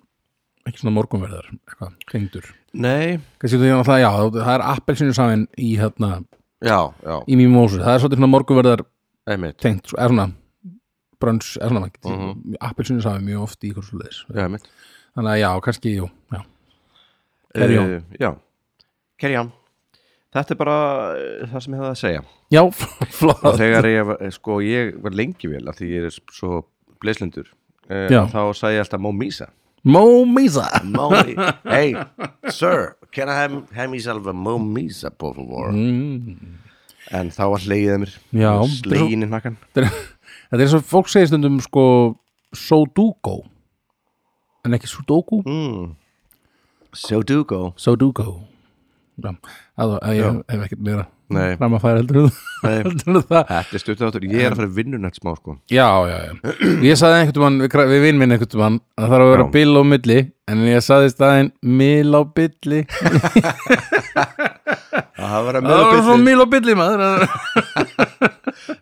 Speaker 2: Ekki svona morgunverðar, eitthvað, tengdur
Speaker 1: Nei,
Speaker 2: Kannski þetta er náttúrulega, já, það er appelsinu saman í hérna
Speaker 1: já, já,
Speaker 2: í mimosu, það er svolítið svona morgunverðar
Speaker 1: einmitt
Speaker 2: tengt, sko, eða svona brönns eða svona mægt, uh -huh. appelsinu safi mjög oft í ykkur svo leiðis,
Speaker 1: Já, mitt
Speaker 2: þannig að já, kannski, jú já, Carry on.
Speaker 1: Eh, Já, carry on Þetta er bara eh, það sem ég hefði að segja
Speaker 2: já fl-
Speaker 1: og
Speaker 2: flott
Speaker 1: þegar ég, var- sko, ég var lengi vel af því ég er svo bleslindur eh,
Speaker 2: Já.
Speaker 1: þá sagði ég alltaf Mómísa
Speaker 2: Mómísa
Speaker 1: Mómi, hey, sir can I have, have myself a Mómísa por favor
Speaker 2: Mm.
Speaker 1: en þá var hlegið að mér
Speaker 2: Já.
Speaker 1: slegin í nakkan
Speaker 2: þetta er- þetta er eins og fólk segir stundum sko Sodugo en ekki Sudoku
Speaker 1: mm. so do go
Speaker 2: Sodugo já, að, að ég hef ekkert meira
Speaker 1: Nei.
Speaker 2: fram að færa heldur en
Speaker 1: Nei.
Speaker 2: það- heldur en það
Speaker 1: Þetta er stutt áttur, ég er að fara vinnunett smá sko
Speaker 2: Já, já, já. Ég saði einhvern veginn, við, kra- við vinn minn einhvern veginn, að það þarf að vera
Speaker 1: Já.
Speaker 2: bill á milli, en ég saði í staðinn mil á billi.
Speaker 1: Það var að
Speaker 2: Það var svo mil á billi, maður.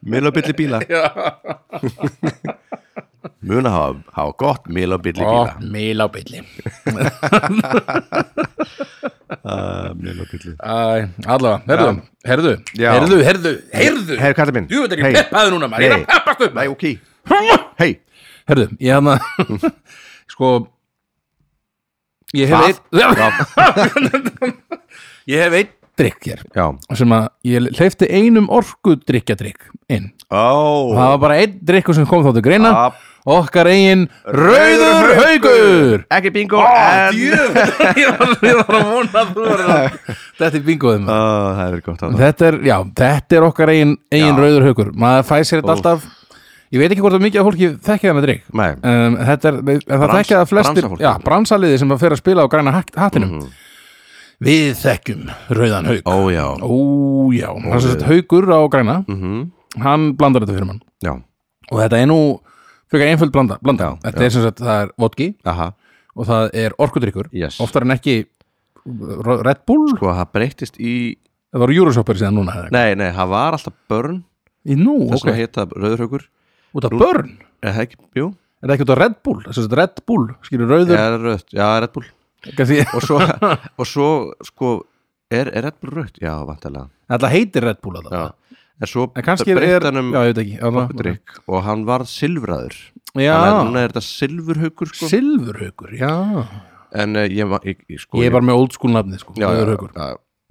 Speaker 1: milabilli bíla Muna hafa, hafa gott milabilli bíla
Speaker 2: mil á billi.
Speaker 1: uh, Milabilli
Speaker 2: Æ, allavega, herðu, herðu,
Speaker 1: Já.
Speaker 2: herðu, herðu, herðu.
Speaker 1: Hei, kallið minn
Speaker 2: Jú, þetta er
Speaker 1: Hey.
Speaker 2: ekki peppaði núna, maður, ég er að
Speaker 1: Hey.
Speaker 2: peppast upp.
Speaker 1: Nei,
Speaker 2: maður.
Speaker 1: ok Hei,
Speaker 2: Herðu, ég hann að, sko, ég
Speaker 1: Hvað?
Speaker 2: hef einn, ég hef einn drikk hér,
Speaker 1: já
Speaker 2: sem að ég hleyfti einum orku drikkjadrikk inn.
Speaker 1: Ó,
Speaker 2: Það var bara einn drikkur sem kom þá til greina
Speaker 1: Ja.
Speaker 2: Okkar eigin Rauður Haugur
Speaker 1: Ekki bingo
Speaker 2: Ó,
Speaker 1: en-
Speaker 2: djöfull, Ég var ég var að vona að þú var Þetta er bingoðum
Speaker 1: Ó, Það er verið gott að það
Speaker 2: þetta er, já, þetta er okkar eigin, eigin
Speaker 1: Já.
Speaker 2: Rauður Haugur Maður fæ sér þetta
Speaker 1: Úff.
Speaker 2: alltaf Ég veit ekki hvort að mikið af fólki þekkja það með drikk
Speaker 1: Nei.
Speaker 2: um, Þetta er, en það
Speaker 1: Brans-
Speaker 2: þekkja það flestir
Speaker 1: bransafólk.
Speaker 2: já, Bransaliði sem að fer að spila á græna hak- hattinum Við þekkjum Rauðan Haug
Speaker 1: Mhm. Ó, já
Speaker 2: Ó, já, hann er sem sagt Haugur á græna Hann blandar þetta fyrir mann
Speaker 1: Mhm. Já,
Speaker 2: og þetta er nú frekar einföld blanda, blanda.
Speaker 1: Já,
Speaker 2: þetta er sem sagt, það er vodki
Speaker 1: aha
Speaker 2: og það er orkudrykkur
Speaker 1: Yes.
Speaker 2: oftar en ekki R- Red Bull
Speaker 1: Sko, það breyttist í
Speaker 2: það var Euroshopper síðan núna eða eitthvað.
Speaker 1: Nei, nei, það var alltaf börn
Speaker 2: í nú,
Speaker 1: Þess
Speaker 2: ok,
Speaker 1: að heita rauðurhaugur
Speaker 2: út af börn er
Speaker 1: Er það ekki, jú,
Speaker 2: það ekki út af Red Bull, sem sagt Red Bull skilur
Speaker 1: ég
Speaker 2: rauður
Speaker 1: er rauð Já, Red Bull
Speaker 2: kannski,
Speaker 1: og svo, og svo sko, er, er Red Bull rautt? Já, vantarlega
Speaker 2: alltaf heitir Red Bull alltaf.
Speaker 1: En svo
Speaker 2: en kannski er,
Speaker 1: breytti
Speaker 2: já,
Speaker 1: hann um
Speaker 2: ég veit ekki alltaf-
Speaker 1: drikk og hann varð silfraður Þannig að
Speaker 2: já,
Speaker 1: núna er þetta silfurhaukur sko.
Speaker 2: silfurhaugur, já
Speaker 1: En uh, ég, var- ég, ég, sko,
Speaker 2: ég er bara með old school nafni, sko,
Speaker 1: já, já,
Speaker 2: rauðurhaugur
Speaker 1: já,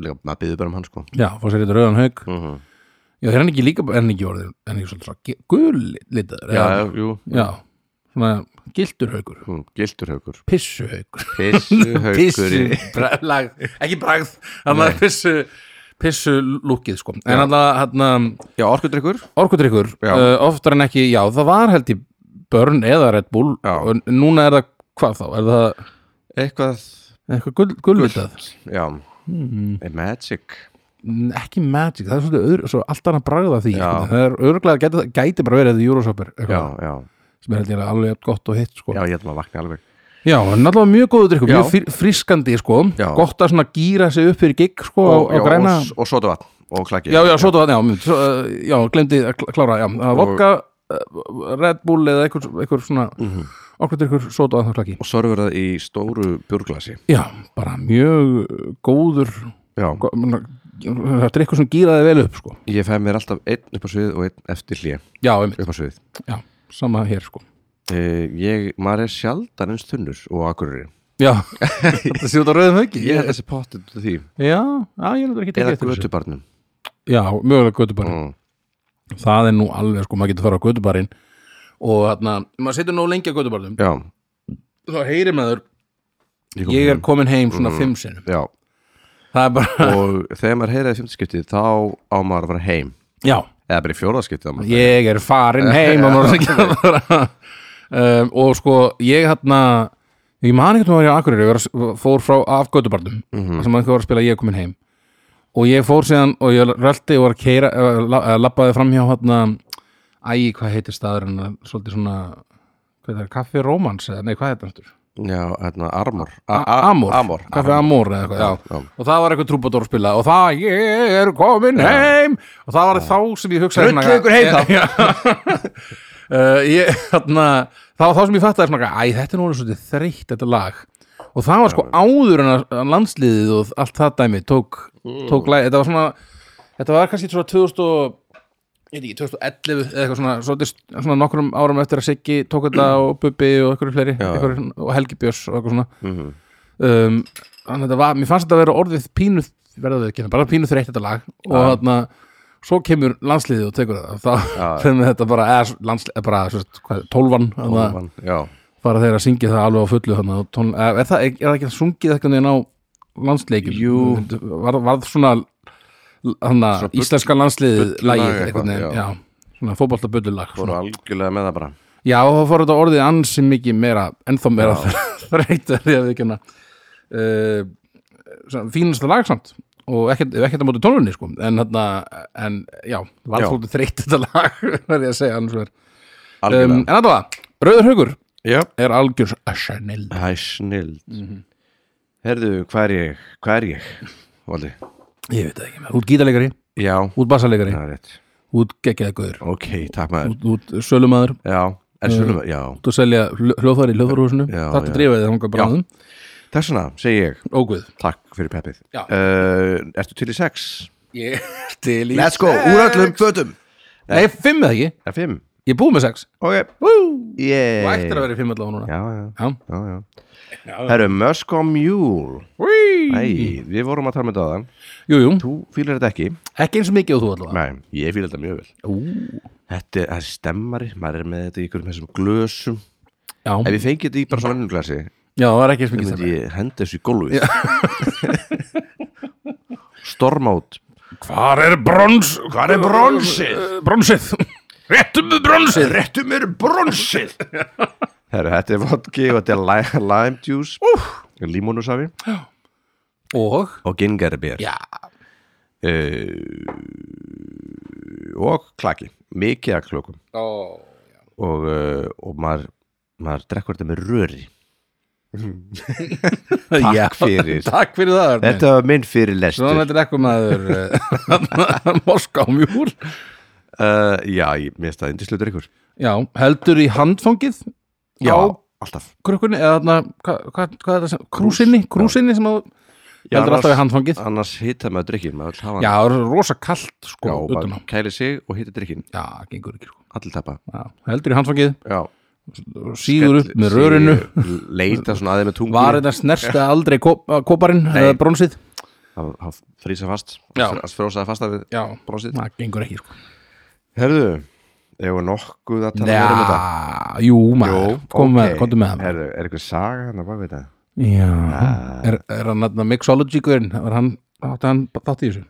Speaker 1: líka, maður byður bara um hann sko.
Speaker 2: já, fór sér eitthvað rauðan haug
Speaker 1: mm -hmm.
Speaker 2: já, þeir hann ekki líka, en ekki orðið en ekki svolítið svo gul
Speaker 1: Já,
Speaker 2: litaður eða-
Speaker 1: já, jú,
Speaker 2: Já, svona gildurhaukur,
Speaker 1: mm, gildurhaukur
Speaker 2: pissuhaukur
Speaker 1: Pissuhaukur
Speaker 2: Pissu,
Speaker 1: í-
Speaker 2: bra- lag, ekki bragð hann var pissu, pissu lúkið sko, en alltaf hann um,
Speaker 1: Já, orkudrykkur
Speaker 2: orkudrykkur,
Speaker 1: Já.
Speaker 2: uh, oftar en ekki já, það var held í börn eða Red Bull
Speaker 1: Já.
Speaker 2: og núna er það, hvað þá er það
Speaker 1: Eitthvað,
Speaker 2: eitthvað gul, gulvitað
Speaker 1: já
Speaker 2: Mhm.
Speaker 1: mm. Magic
Speaker 2: Mm, ekki magic, það er svolítið öðru, svo allt annað bragð af því,
Speaker 1: Já.
Speaker 2: sko. það er örglega gæti, gæti bara verið þetta Eurosopper,
Speaker 1: Já,
Speaker 2: eitthvað,
Speaker 1: já,
Speaker 2: sem er held ég alveg jafn gott og hitt sko.
Speaker 1: já, ég ætlum að vakna alveg
Speaker 2: Já, en allavega mjög góðu drikkur,
Speaker 1: Já.
Speaker 2: mjög frí- frískandi sko,
Speaker 1: Já.
Speaker 2: gott að svona gýra sig upp fyrir gig sko á, á
Speaker 1: já,
Speaker 2: græna
Speaker 1: og, og sotavatn og klakki
Speaker 2: Já, já, svo það, já, mynd, svo, uh, já, glemdi að kl- klára, já, það var vodka uh, Red Bull eða einhver, einhver svona
Speaker 1: Mhm.
Speaker 2: okkur drikkur, svo það klaki
Speaker 1: og sorfur það í stóru burglasi
Speaker 2: Já, bara mjög góður
Speaker 1: Já,
Speaker 2: gó- menna, það drikkur sem gýraði vel upp sko,
Speaker 1: ég fæ mér alltaf einn upp á svið og einn eftir hlje
Speaker 2: já, einmitt,
Speaker 1: upp á svið
Speaker 2: já, sama hér sko
Speaker 1: uh, Ég, maður er sjaldan eins þunnur og akkurri
Speaker 2: Já, þetta sé út á rauðum hauki
Speaker 1: Ég held þessi pottet út af því
Speaker 2: Já, já, ég er þetta ekki tekið
Speaker 1: Eða
Speaker 2: eftir þessu.
Speaker 1: götubarnum
Speaker 2: Já, mögulega göttubarinn
Speaker 1: mm.
Speaker 2: það er nú alveg sko, maður getur fara á gödubarinn og þarna, maður setur nú lengi á gödubarnum
Speaker 1: Já,
Speaker 2: þá heyrir maður,
Speaker 1: kom
Speaker 2: ég er
Speaker 1: heim.
Speaker 2: komin heim Mm. svona fimm sinnum,
Speaker 1: Já,
Speaker 2: það er bara
Speaker 1: og þegar maður heyraði fjöndskipti þá á maður að fara heim
Speaker 2: já,
Speaker 1: Eða bara í fjóðarskipti á maður
Speaker 2: ég er farin heim og maður er ekki að fara um, og sko, ég þarna ég man ekki að maður var í Akureyri ég var, að- fór frá af gödubarnum sem maður var að spila ég er komin heim og ég fór síðan og ég rölti og var að keira, labbaði fram hjá þarna, æ, hvað heitir staðurinn svolítið svona hvað er það, kaffi Rómans, eða nei, hvað heitir þetta
Speaker 1: Já, hérna, armor
Speaker 2: A- Amor,
Speaker 1: Amor
Speaker 2: kaffi Amor eða eitthvað, já.
Speaker 1: Já.
Speaker 2: og það var eitthvað trúbadór spila og það, ég er komin heim og það var þá sem ég hugsaði
Speaker 1: Rullu ykkur heim þá.
Speaker 2: uh, ég, þarna, það var þá sem ég fattaði svona, æ, þetta er nú orðið svolítið þreytt þetta lag og það var sko áður en að að landsliðið og allt það dæmi tók, tók lagi, þetta var svona þetta var kannski svona 2000 og ég veit ekki, 2011 eða eitthvað svona, svona, svona nokkrum árum eftir að Siggi tók þetta og Bubbi og einhverju fleiri
Speaker 1: Já, já.
Speaker 2: einhverju, svona- og Helgi Björs og eitthvað svona
Speaker 1: Mhm.
Speaker 2: um, þannig að þetta var, mér fannst þetta að vera orðið pínu, verða þau ekki, bara pínu þreytt þetta lag og
Speaker 1: Já.
Speaker 2: þarna svo kemur landsliðið og tekur það
Speaker 1: Já,
Speaker 2: og þá
Speaker 1: já.
Speaker 2: finnum þetta bara, eða landsliðið bara, svo, hvað, tólvan, tólvan.
Speaker 1: Óman, já,
Speaker 2: bara þeir að syngja það alveg á fullu þarna, og tón, eh, er, það, er það ekki að sungið eitthvað neina á landsleikjum
Speaker 1: Jú.
Speaker 2: varð var svona hana,
Speaker 1: Svona bull-
Speaker 2: íslenska landsliðið
Speaker 1: bulllag
Speaker 2: lagið
Speaker 1: eitthvað,
Speaker 2: eitthvað,
Speaker 1: já.
Speaker 2: já. svona fótboltabullulag
Speaker 1: fóru algjörlega með það bara
Speaker 2: já og þá fór þetta orðið ansi mikið meira ennþá meira þreytt því að við ekki hana uh, fínasta lag samt og ekkert, ekkert að móti tónunni sko en, hana, en já, var
Speaker 1: Já.
Speaker 2: þóttu þreytt þetta lag verði að segja annars verð um,
Speaker 1: algjörlega
Speaker 2: en þetta var, Rauður Haugur
Speaker 1: já,
Speaker 2: er algjör sennil
Speaker 1: það er snild herðu, hvað er ég hvað er ég, Valdi
Speaker 2: Ég veit það ekki maður, út gítarleikari,
Speaker 1: já,
Speaker 2: út bassalegari,
Speaker 1: það er rétt
Speaker 2: út geggjaði guður,
Speaker 1: ok, takk maður,
Speaker 2: út, út sölumadur,
Speaker 1: já, en svolum já,
Speaker 2: út að selja hljóðfæri í hljóðfærhúsinu,
Speaker 1: Já,
Speaker 2: þetta
Speaker 1: já.
Speaker 2: drifaði það hongað bráðum,
Speaker 1: þess vegna segi ég
Speaker 2: óguð.
Speaker 1: takk fyrir peppið
Speaker 2: Já.
Speaker 1: uh, ertu til í sex?
Speaker 2: Ég til í...
Speaker 1: let's go, úr öllum fötum
Speaker 2: Nei, fimm eða ekki,
Speaker 1: er fimm,
Speaker 2: ég er búið með sex.
Speaker 1: ok,
Speaker 2: Vú!
Speaker 1: yeah
Speaker 2: Og ættir að vera í fimm allavega núna.
Speaker 1: Eh, já, já,
Speaker 2: Já.
Speaker 1: já, já. herru, Musk on Mule
Speaker 2: Ví!
Speaker 1: Æ, við vorum að tala með þetta á
Speaker 2: Jú, jú,
Speaker 1: þú fýlar þetta ekki
Speaker 2: ekki eins mikið og þú allavega.
Speaker 1: Nei, ég fýla þetta mjög vel
Speaker 2: Ú.
Speaker 1: Þetta er, það er stemmari, maður er með þetta í einhverjum þessum glösum
Speaker 2: Já,
Speaker 1: Ef ég fengi þetta í bara svo vennum glasi
Speaker 2: já, það var ekki eins mikið
Speaker 1: myndi
Speaker 2: sem.
Speaker 1: ég henda þessu í gólfið Storm át
Speaker 2: Hvar er brons...
Speaker 1: Hvar er bronsið?
Speaker 2: Bronsið. Réttum við bronsið.
Speaker 1: Réttu mér bronsið Herra, þetta er vodki og þetta er lime, lime juice Úf Límónusafi
Speaker 2: Og?
Speaker 1: og gingerbér
Speaker 2: Já.
Speaker 1: uh, Og klaki, mikið að klökum
Speaker 2: Ó.
Speaker 1: og, uh, og maður, maður drekkur þetta með röri
Speaker 2: Takk
Speaker 1: fyrir.
Speaker 2: Takk fyrir það, Arne.
Speaker 1: Þetta var minn fyrir lestur
Speaker 2: Svona þetta er eitthvað maður Moska á mjúl
Speaker 1: uh, Já, ég mista það indislutur ykkur
Speaker 2: Já, heldur í handfangið
Speaker 1: Já,
Speaker 2: á
Speaker 1: alltaf
Speaker 2: krukkunni eða þarna, hvað hva, hva er það sem krúsinni, krúsinni sem að
Speaker 1: Já,
Speaker 2: heldur alltaf í
Speaker 1: annars-
Speaker 2: handfangið
Speaker 1: Annars hita maður drikkin, maður vil hafa
Speaker 2: Já,
Speaker 1: hann
Speaker 2: það er rosa kalt sko
Speaker 1: Já,
Speaker 2: utan á
Speaker 1: bara kæli sig og hita drikkin
Speaker 2: Já, gengur ekki sko
Speaker 1: Allir tappa
Speaker 2: Já, heldur í handfangið,
Speaker 1: Já,
Speaker 2: sígur upp með rörinu
Speaker 1: Sígur, Leita svona aðeins með tungu
Speaker 2: Var þetta snersta aldrei kop, koparinn eða bronsið
Speaker 1: Það það frísa fast
Speaker 2: Já.
Speaker 1: Það frósaði fast að við
Speaker 2: Já,
Speaker 1: brosið
Speaker 2: það gengur ekki sko
Speaker 1: Herðu, hefur nokkuð að tala meira um þetta
Speaker 2: Já, jú maður, kom með,
Speaker 1: ok.
Speaker 2: komdu með það
Speaker 1: Herðu, er eitthvað saga hann að baka þetta?
Speaker 2: Já, er, er hann nefna mixology-gurinn, var hann, átti hann þátt í þessu?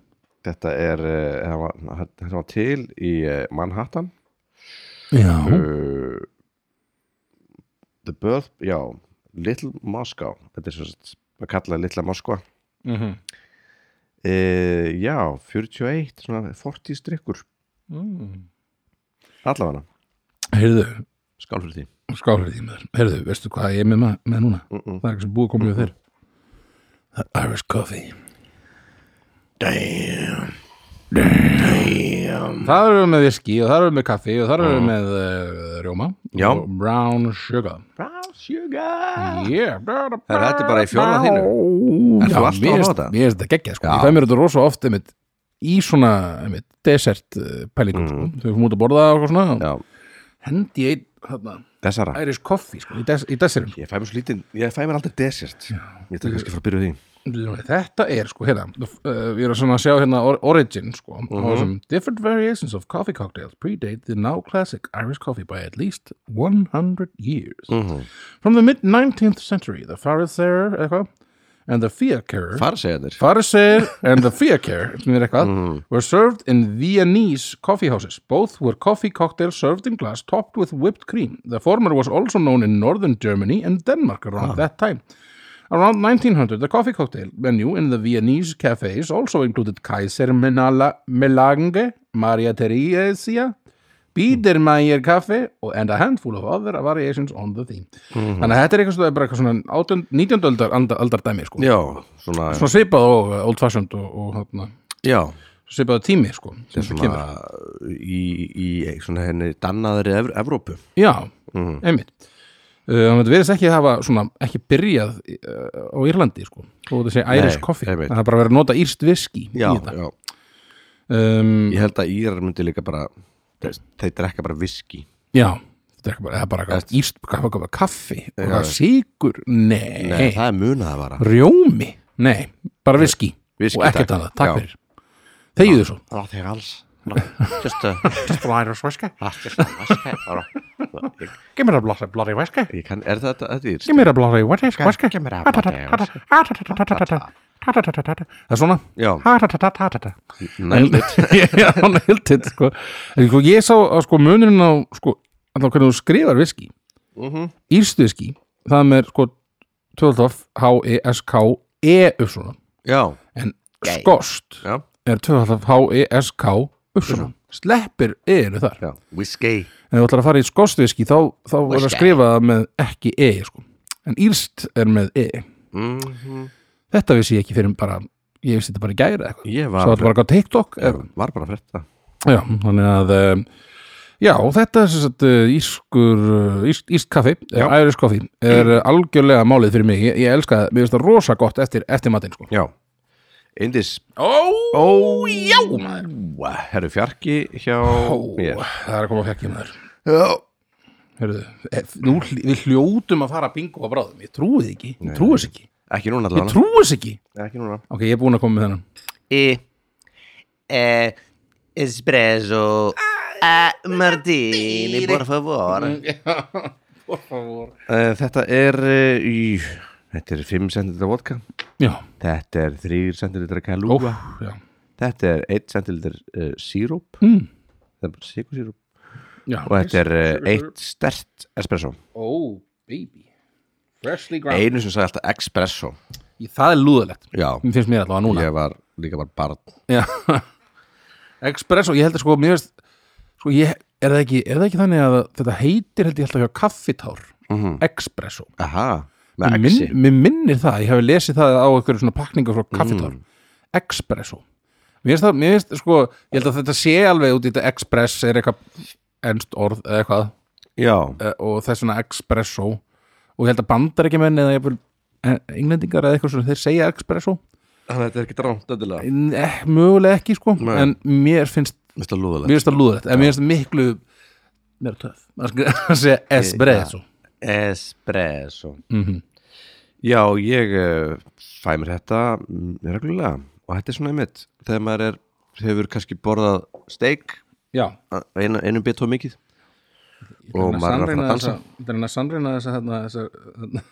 Speaker 1: Þetta er, eh, hann var, hann- hann var til í eh, Manhattan
Speaker 2: Já,
Speaker 1: uh, The Birth, já Little Moscow þetta er svo sett, maður kallaði Little Moskva uh,
Speaker 2: Mhm.
Speaker 1: já, 41 svona 40 strikkur
Speaker 2: Mm.
Speaker 1: allavega,
Speaker 2: heyrðu,
Speaker 1: skál fyrir því
Speaker 2: skálur því með þér, heyrðu, veistu hvað ég er með, ma- með núna?
Speaker 1: Mm, mm.
Speaker 2: Það er ekki sem búið að koma við þér. The Irish Coffee.
Speaker 1: damn
Speaker 2: Það eru við með viski og það eru við með kaffi og það eru við með uh, rjóma
Speaker 1: Mm. Já.
Speaker 2: og brown sugar.
Speaker 1: brown sugar
Speaker 2: Yeah.
Speaker 1: Herra, þetta er bara í fjóla þínu.
Speaker 2: þínu.
Speaker 1: Ert þú alltaf að hafa þetta?
Speaker 2: Mér er þetta geggjað, sko.
Speaker 1: Já.
Speaker 2: Ég fæ mér þetta rosa oft, einmitt, í svona, einmitt, desert uh, pælingum, sko. Þegar við fórum út að borða og eitthvað svona,
Speaker 1: Mm. já,
Speaker 2: hendi ég einn, þarna,
Speaker 1: þessara
Speaker 2: Irish coffee, sko, í, des, í desertum.
Speaker 1: ég fæ mér svo lítið, ég fæ mér aldrei desert ég ætla kannski frá að byrja á því
Speaker 2: Þetta er, sko, hérna, uh, við erum svona að sjá hérna or- origin, sko, mm different variations of coffee cocktails predate the now classic Irish coffee by at least 100 years. From the mid-19th century, the Farisair, eitthvað, and the Fiacre,
Speaker 1: fara að segja þér
Speaker 2: Farisair and the Fiacre, sem er eitthvað, were served in Viennese coffee houses. Both were coffee cocktails served in glass topped with whipped cream. The former was also known in northern Germany and Denmark around that time. Around 1900, the coffee cocktail menu in the Viennese cafes also included Kaiser Menala, Melange, Maria Theresia, Biedermeier kaffe og- and a handful of other variations on the theme. Þannig að þetta er eitthvað svona- bara eitthvað svona 18, 19. aldar, aldar, aldar dæmi sko
Speaker 1: já, svona,
Speaker 2: svona svipað og uh, old fashioned og, og hérna,
Speaker 1: já
Speaker 2: svipað tími sko, sem þetta
Speaker 1: svona
Speaker 2: kemur
Speaker 1: í, í svona henni dannaðri Ev Evrópu
Speaker 2: já,
Speaker 1: Mhm.
Speaker 2: einmitt uh, þannig að þetta verðist ekki hafa svona ekki byrjað uh, á Írlandi sko og þetta sé Irish
Speaker 1: Nei,
Speaker 2: Coffee,
Speaker 1: einmitt.
Speaker 2: það er bara verið að nota írst viski í
Speaker 1: já,
Speaker 2: þetta
Speaker 1: já,
Speaker 2: um,
Speaker 1: Ég held að Írar myndi líka bara þeir, þeir drekka bara viski
Speaker 2: Já, þetta er bara, eða bara eitthvað íst, eitthvað eitthvað kaffi, eitthvað sigur, nei,
Speaker 1: Nei, það er munað að vara
Speaker 2: rjómi, nei, bara viski
Speaker 1: Viski,
Speaker 2: og ekkert
Speaker 1: takk.
Speaker 2: annað, takk
Speaker 1: Já.
Speaker 2: fyrir. Þegiðu svo.
Speaker 1: Það er þeir alls Just a
Speaker 2: Blæri og svæska,
Speaker 1: Ég,
Speaker 2: gemir að blári, blári væska,
Speaker 1: ég kann, er þetta þetta er
Speaker 2: gemir að blári væska,
Speaker 1: Give me that bloody whiskey.
Speaker 2: Það er svona.
Speaker 1: Já,
Speaker 2: Ha-ta-ta-ta-ta-ta.
Speaker 1: nailed it
Speaker 2: Já, nailed it sko. En, sko, ég sá að sko munurinn á sko, að þá hvernig þú skrifar viski
Speaker 1: Mhm.
Speaker 2: írstu viski það með sko E 12 H-E-S-K-E uppsvona
Speaker 1: Já,
Speaker 2: en skost
Speaker 1: já,
Speaker 2: er E 12 H-E-S-K uppsvona sleppir E eru þar
Speaker 1: já Whiskey
Speaker 2: en ef þú ætlar að fara í skostviski þá, þá verður að
Speaker 1: Whiskey.
Speaker 2: skrifa það með ekki E sko. en írst er með E
Speaker 1: Mhm.
Speaker 2: þetta vissi ég ekki fyrir bara ég vissi þetta bara í gæri eitthvað
Speaker 1: Ég
Speaker 2: svo
Speaker 1: var,
Speaker 2: þetta bara á TikTok eða-
Speaker 1: var bara að frétta
Speaker 2: Já, þannig að um, Já, þetta er sem sagt uh, ískur, uh, ísk, ísk kaffi,
Speaker 1: Já.
Speaker 2: æris kaffi er mm. algjörlega málið fyrir mig, ég, ég elska það mér finnst það rosa gott eftir, eftir matinn sko.
Speaker 1: Já, Indis
Speaker 2: Ó,
Speaker 1: Ó, já
Speaker 2: maður.
Speaker 1: Herru fjarki hjá mér
Speaker 2: það er að koma að fekki maður
Speaker 1: Já
Speaker 2: Hörðu, ef, nú, hl- við hljótum að fara að bingo að bráðum, ég trúið ekki, ég trúið ekki
Speaker 1: Ekki núna
Speaker 2: ég
Speaker 1: allavega
Speaker 2: trúið ekki,
Speaker 1: Ekki núna
Speaker 2: ok, ég er búin að koma með þennan
Speaker 3: e eh, espresso a martini eh, por favore
Speaker 1: Eh, Þetta er eh, í, Þetta er 5 cm vodka
Speaker 2: Já,
Speaker 1: Þetta er 3 cm
Speaker 2: ó,
Speaker 1: kalúa
Speaker 2: já,
Speaker 1: Þetta er 1 cm uh, síróp
Speaker 2: mm,
Speaker 1: Það er bara sikursíróp
Speaker 2: já
Speaker 1: Og þetta er uh, eitt stert espresso
Speaker 2: Ó, baby Freshly
Speaker 1: Einu sem sagði alltaf espresso
Speaker 2: Það er lúðalegt,
Speaker 1: Já,
Speaker 2: mér finnst mér allavega núna
Speaker 1: ég var líka bara barn
Speaker 2: Já Espresso, ég held að sko mér veist sko ég, er það ekki, er það ekki þannig að þetta heitir held ég alltaf hjá kaffitár Espresso
Speaker 1: Mhm. Aha, með
Speaker 2: mér,
Speaker 1: exi
Speaker 2: minn, mér minnir það, ég hafi lesið það á einhverju svona pakningu frá kaffitár
Speaker 1: Mm.
Speaker 2: Espresso Mér veist það, mér veist sko ég held að þetta sé alveg út í þetta Express er eitthvað ennst orð eða eitthvað
Speaker 1: Já,
Speaker 2: eh, og þess vegna Espresso og ég held að bandar ekki menn eða ég englendingar eða eitthvað svona, þeir segja Espresso
Speaker 1: þannig að þetta er ekki drámt endilega
Speaker 2: eh, mögulega ekki sko,
Speaker 1: Nei.
Speaker 2: en mér finnst
Speaker 1: Mesta lúðalegt
Speaker 2: mér finnst það lúðrætt en mér finnst það miklu mér töf að sk- að segja espresso
Speaker 1: Espresso
Speaker 2: mm
Speaker 1: Já, ég uh, fæ mér þetta mm, reglulega og þetta er svona einmitt þegar maður er, hefur kannski borðað steik
Speaker 2: já
Speaker 1: a- einu, einu bit og mikið og maður er að fara að dansa
Speaker 2: það er hann að sannreina þess að þarna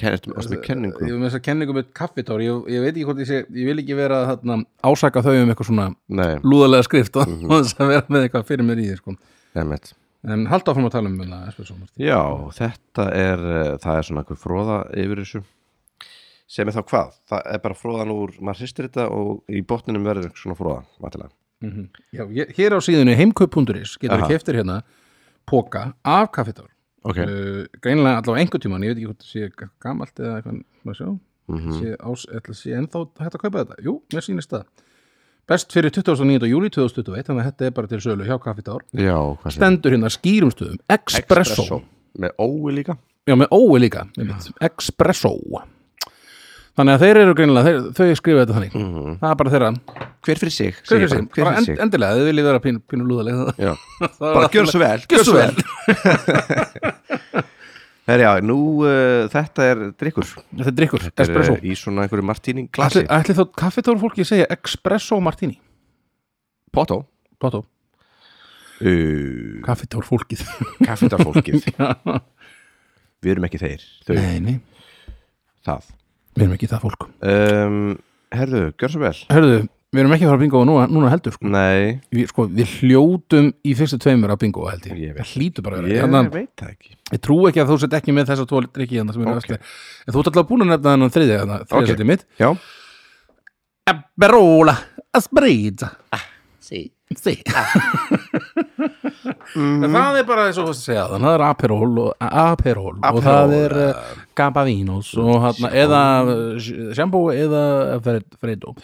Speaker 1: Kennist, ástu með kenningu
Speaker 2: ég er með þess að kenningu með kaffitár ég, ég veit ekki hvort ég sé, ég vil ekki vera þarna, ásaka þau um eitthvað svona
Speaker 1: Nei,
Speaker 2: lúðalega skrift og
Speaker 1: Mhm.
Speaker 2: mm þess að vera með eitthvað fyrir mér í því sko.
Speaker 1: einmitt
Speaker 2: en halda áfram að tala um hérna, espresso Martin.
Speaker 1: Já, þetta er, uh, það er svona einhver fróða yfir þessu sem er þá hvað? Það er bara fróðan úr, maður hristir þetta og í botninum verður svona fróða, matilega
Speaker 2: já, ég, hér á síðunni heimkaup.is getur
Speaker 1: Aha.
Speaker 2: við keftir hérna póka af kaffitár
Speaker 1: Ok,
Speaker 2: uh, greinilega allavega einhvern tíman ég veit ekki hvort það sé eitthvað gamalt eða eitthvað maður sjá, mm -hmm. sé, ás, ætla, sé ennþá hægt að kaupa þetta, jú, mér sýnist það best fyrir 29. júli 2021 þannig að þetta er bara til sölu hjá kaffitár
Speaker 1: já, hvað sem
Speaker 2: stendur hérna skýrum stöðum Espresso,
Speaker 1: Með ói líka
Speaker 2: já með ói líka einmitt. Espresso þannig að þeir eru greinilega, þeir, þau skrifa þetta þannig það er bara þeirra,
Speaker 1: Hver fyrir sig?
Speaker 2: hver
Speaker 1: segi ég
Speaker 2: fyrir sig,
Speaker 1: Hver
Speaker 2: bara
Speaker 1: fyrir
Speaker 2: end,
Speaker 1: sig?
Speaker 2: endilega þau viljið vera pínu, pínu lúðalega
Speaker 1: Já. bara gjör svo vel
Speaker 2: gjör svo vel,
Speaker 1: Herri, já, nú uh, þetta er drikkur
Speaker 2: þetta er drikkur, espresso
Speaker 1: í svona einhverju martíning glasi
Speaker 2: Ætli, ætli þá kaffitár fólki segja espresso martini
Speaker 1: Potó
Speaker 2: Plátó,
Speaker 1: uh,
Speaker 2: kaffitár fólkið
Speaker 1: Kaffetarfólkið Við erum ekki þeir Þau,
Speaker 2: Nei, nei,
Speaker 1: það
Speaker 2: við erum ekki það fólk
Speaker 1: um, Herðu, gjör svo vel
Speaker 2: Hörðu, við erum ekki að fara að bingo núna, núna heldur sko.
Speaker 1: Nei,
Speaker 2: Við, sko, við hljótum í fyrstu tveimur að bingo held
Speaker 1: Ég
Speaker 2: ég,
Speaker 1: veit.
Speaker 2: það hlýtur bara að
Speaker 1: ég
Speaker 2: vera Þannig,
Speaker 1: veit það ekki
Speaker 2: að ég trú ekki að þú sett ekki með þessa tvo drikki hérna sem eru
Speaker 1: Ok.
Speaker 2: okay. En þú ert alltaf búin að nefna þennan þriðja þarna, þriðja
Speaker 1: Ok.
Speaker 2: okay. mitt
Speaker 1: Já,
Speaker 2: Eberola, asbreyta
Speaker 3: sì
Speaker 2: Sí En það er bara eins og þú veist að segja þannig, það er aperol og aperol og
Speaker 1: Aperol,
Speaker 2: það er uh, gabavínos og hérna, eða uh, sjambó eða fred, fredo uh,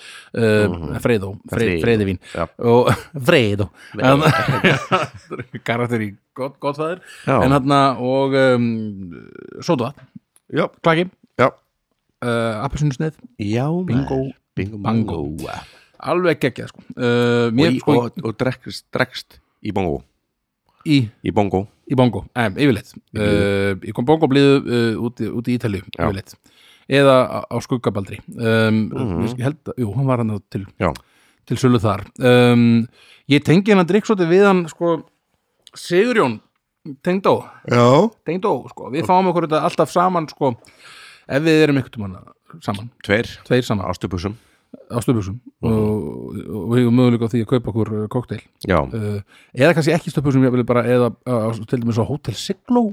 Speaker 2: fredo, fre,
Speaker 1: Fredo,
Speaker 2: fredivín
Speaker 1: já.
Speaker 2: og fredo En- karakter í gott, gott fæður
Speaker 1: Já.
Speaker 2: en hérna og um, sótva,
Speaker 1: já,
Speaker 2: klaki
Speaker 1: já
Speaker 2: uh, apelsinsneið,
Speaker 1: Já,
Speaker 2: Bingo.
Speaker 1: Bingo
Speaker 2: Bango.
Speaker 1: Bango
Speaker 2: alveg geggja sko. uh, mér
Speaker 1: og,
Speaker 2: sko
Speaker 1: og, og drekkst, drekkst í bongo
Speaker 2: í,
Speaker 1: Í bongo
Speaker 2: í bongo, em, yfirleitt uh, ég kom bongo blíðu uh, út, í- út í Ítalju
Speaker 1: Já.
Speaker 2: yfirleitt eða á, á skuggabaldri um, ég held að, jú, hann var hann á til
Speaker 1: Mhm. Já,
Speaker 2: til sölu þar um, ég tengi hennar drikk svolítið við hann sko, Sigurjón tengdó,
Speaker 1: já.
Speaker 2: tengdó sko. við fáum okkur þetta alltaf saman sko, ef við erum ykkur tímann saman,
Speaker 1: Tveir
Speaker 2: tveir saman á,
Speaker 1: ástupussum
Speaker 2: á stöpusum
Speaker 1: Mhm.
Speaker 2: og, og við erum möguleika á því að kaupa okkur uh, kokteil
Speaker 1: Já,
Speaker 2: uh, eða kannski ekki stöpusum bara, eða uh, til dæmis á Hotel Siglo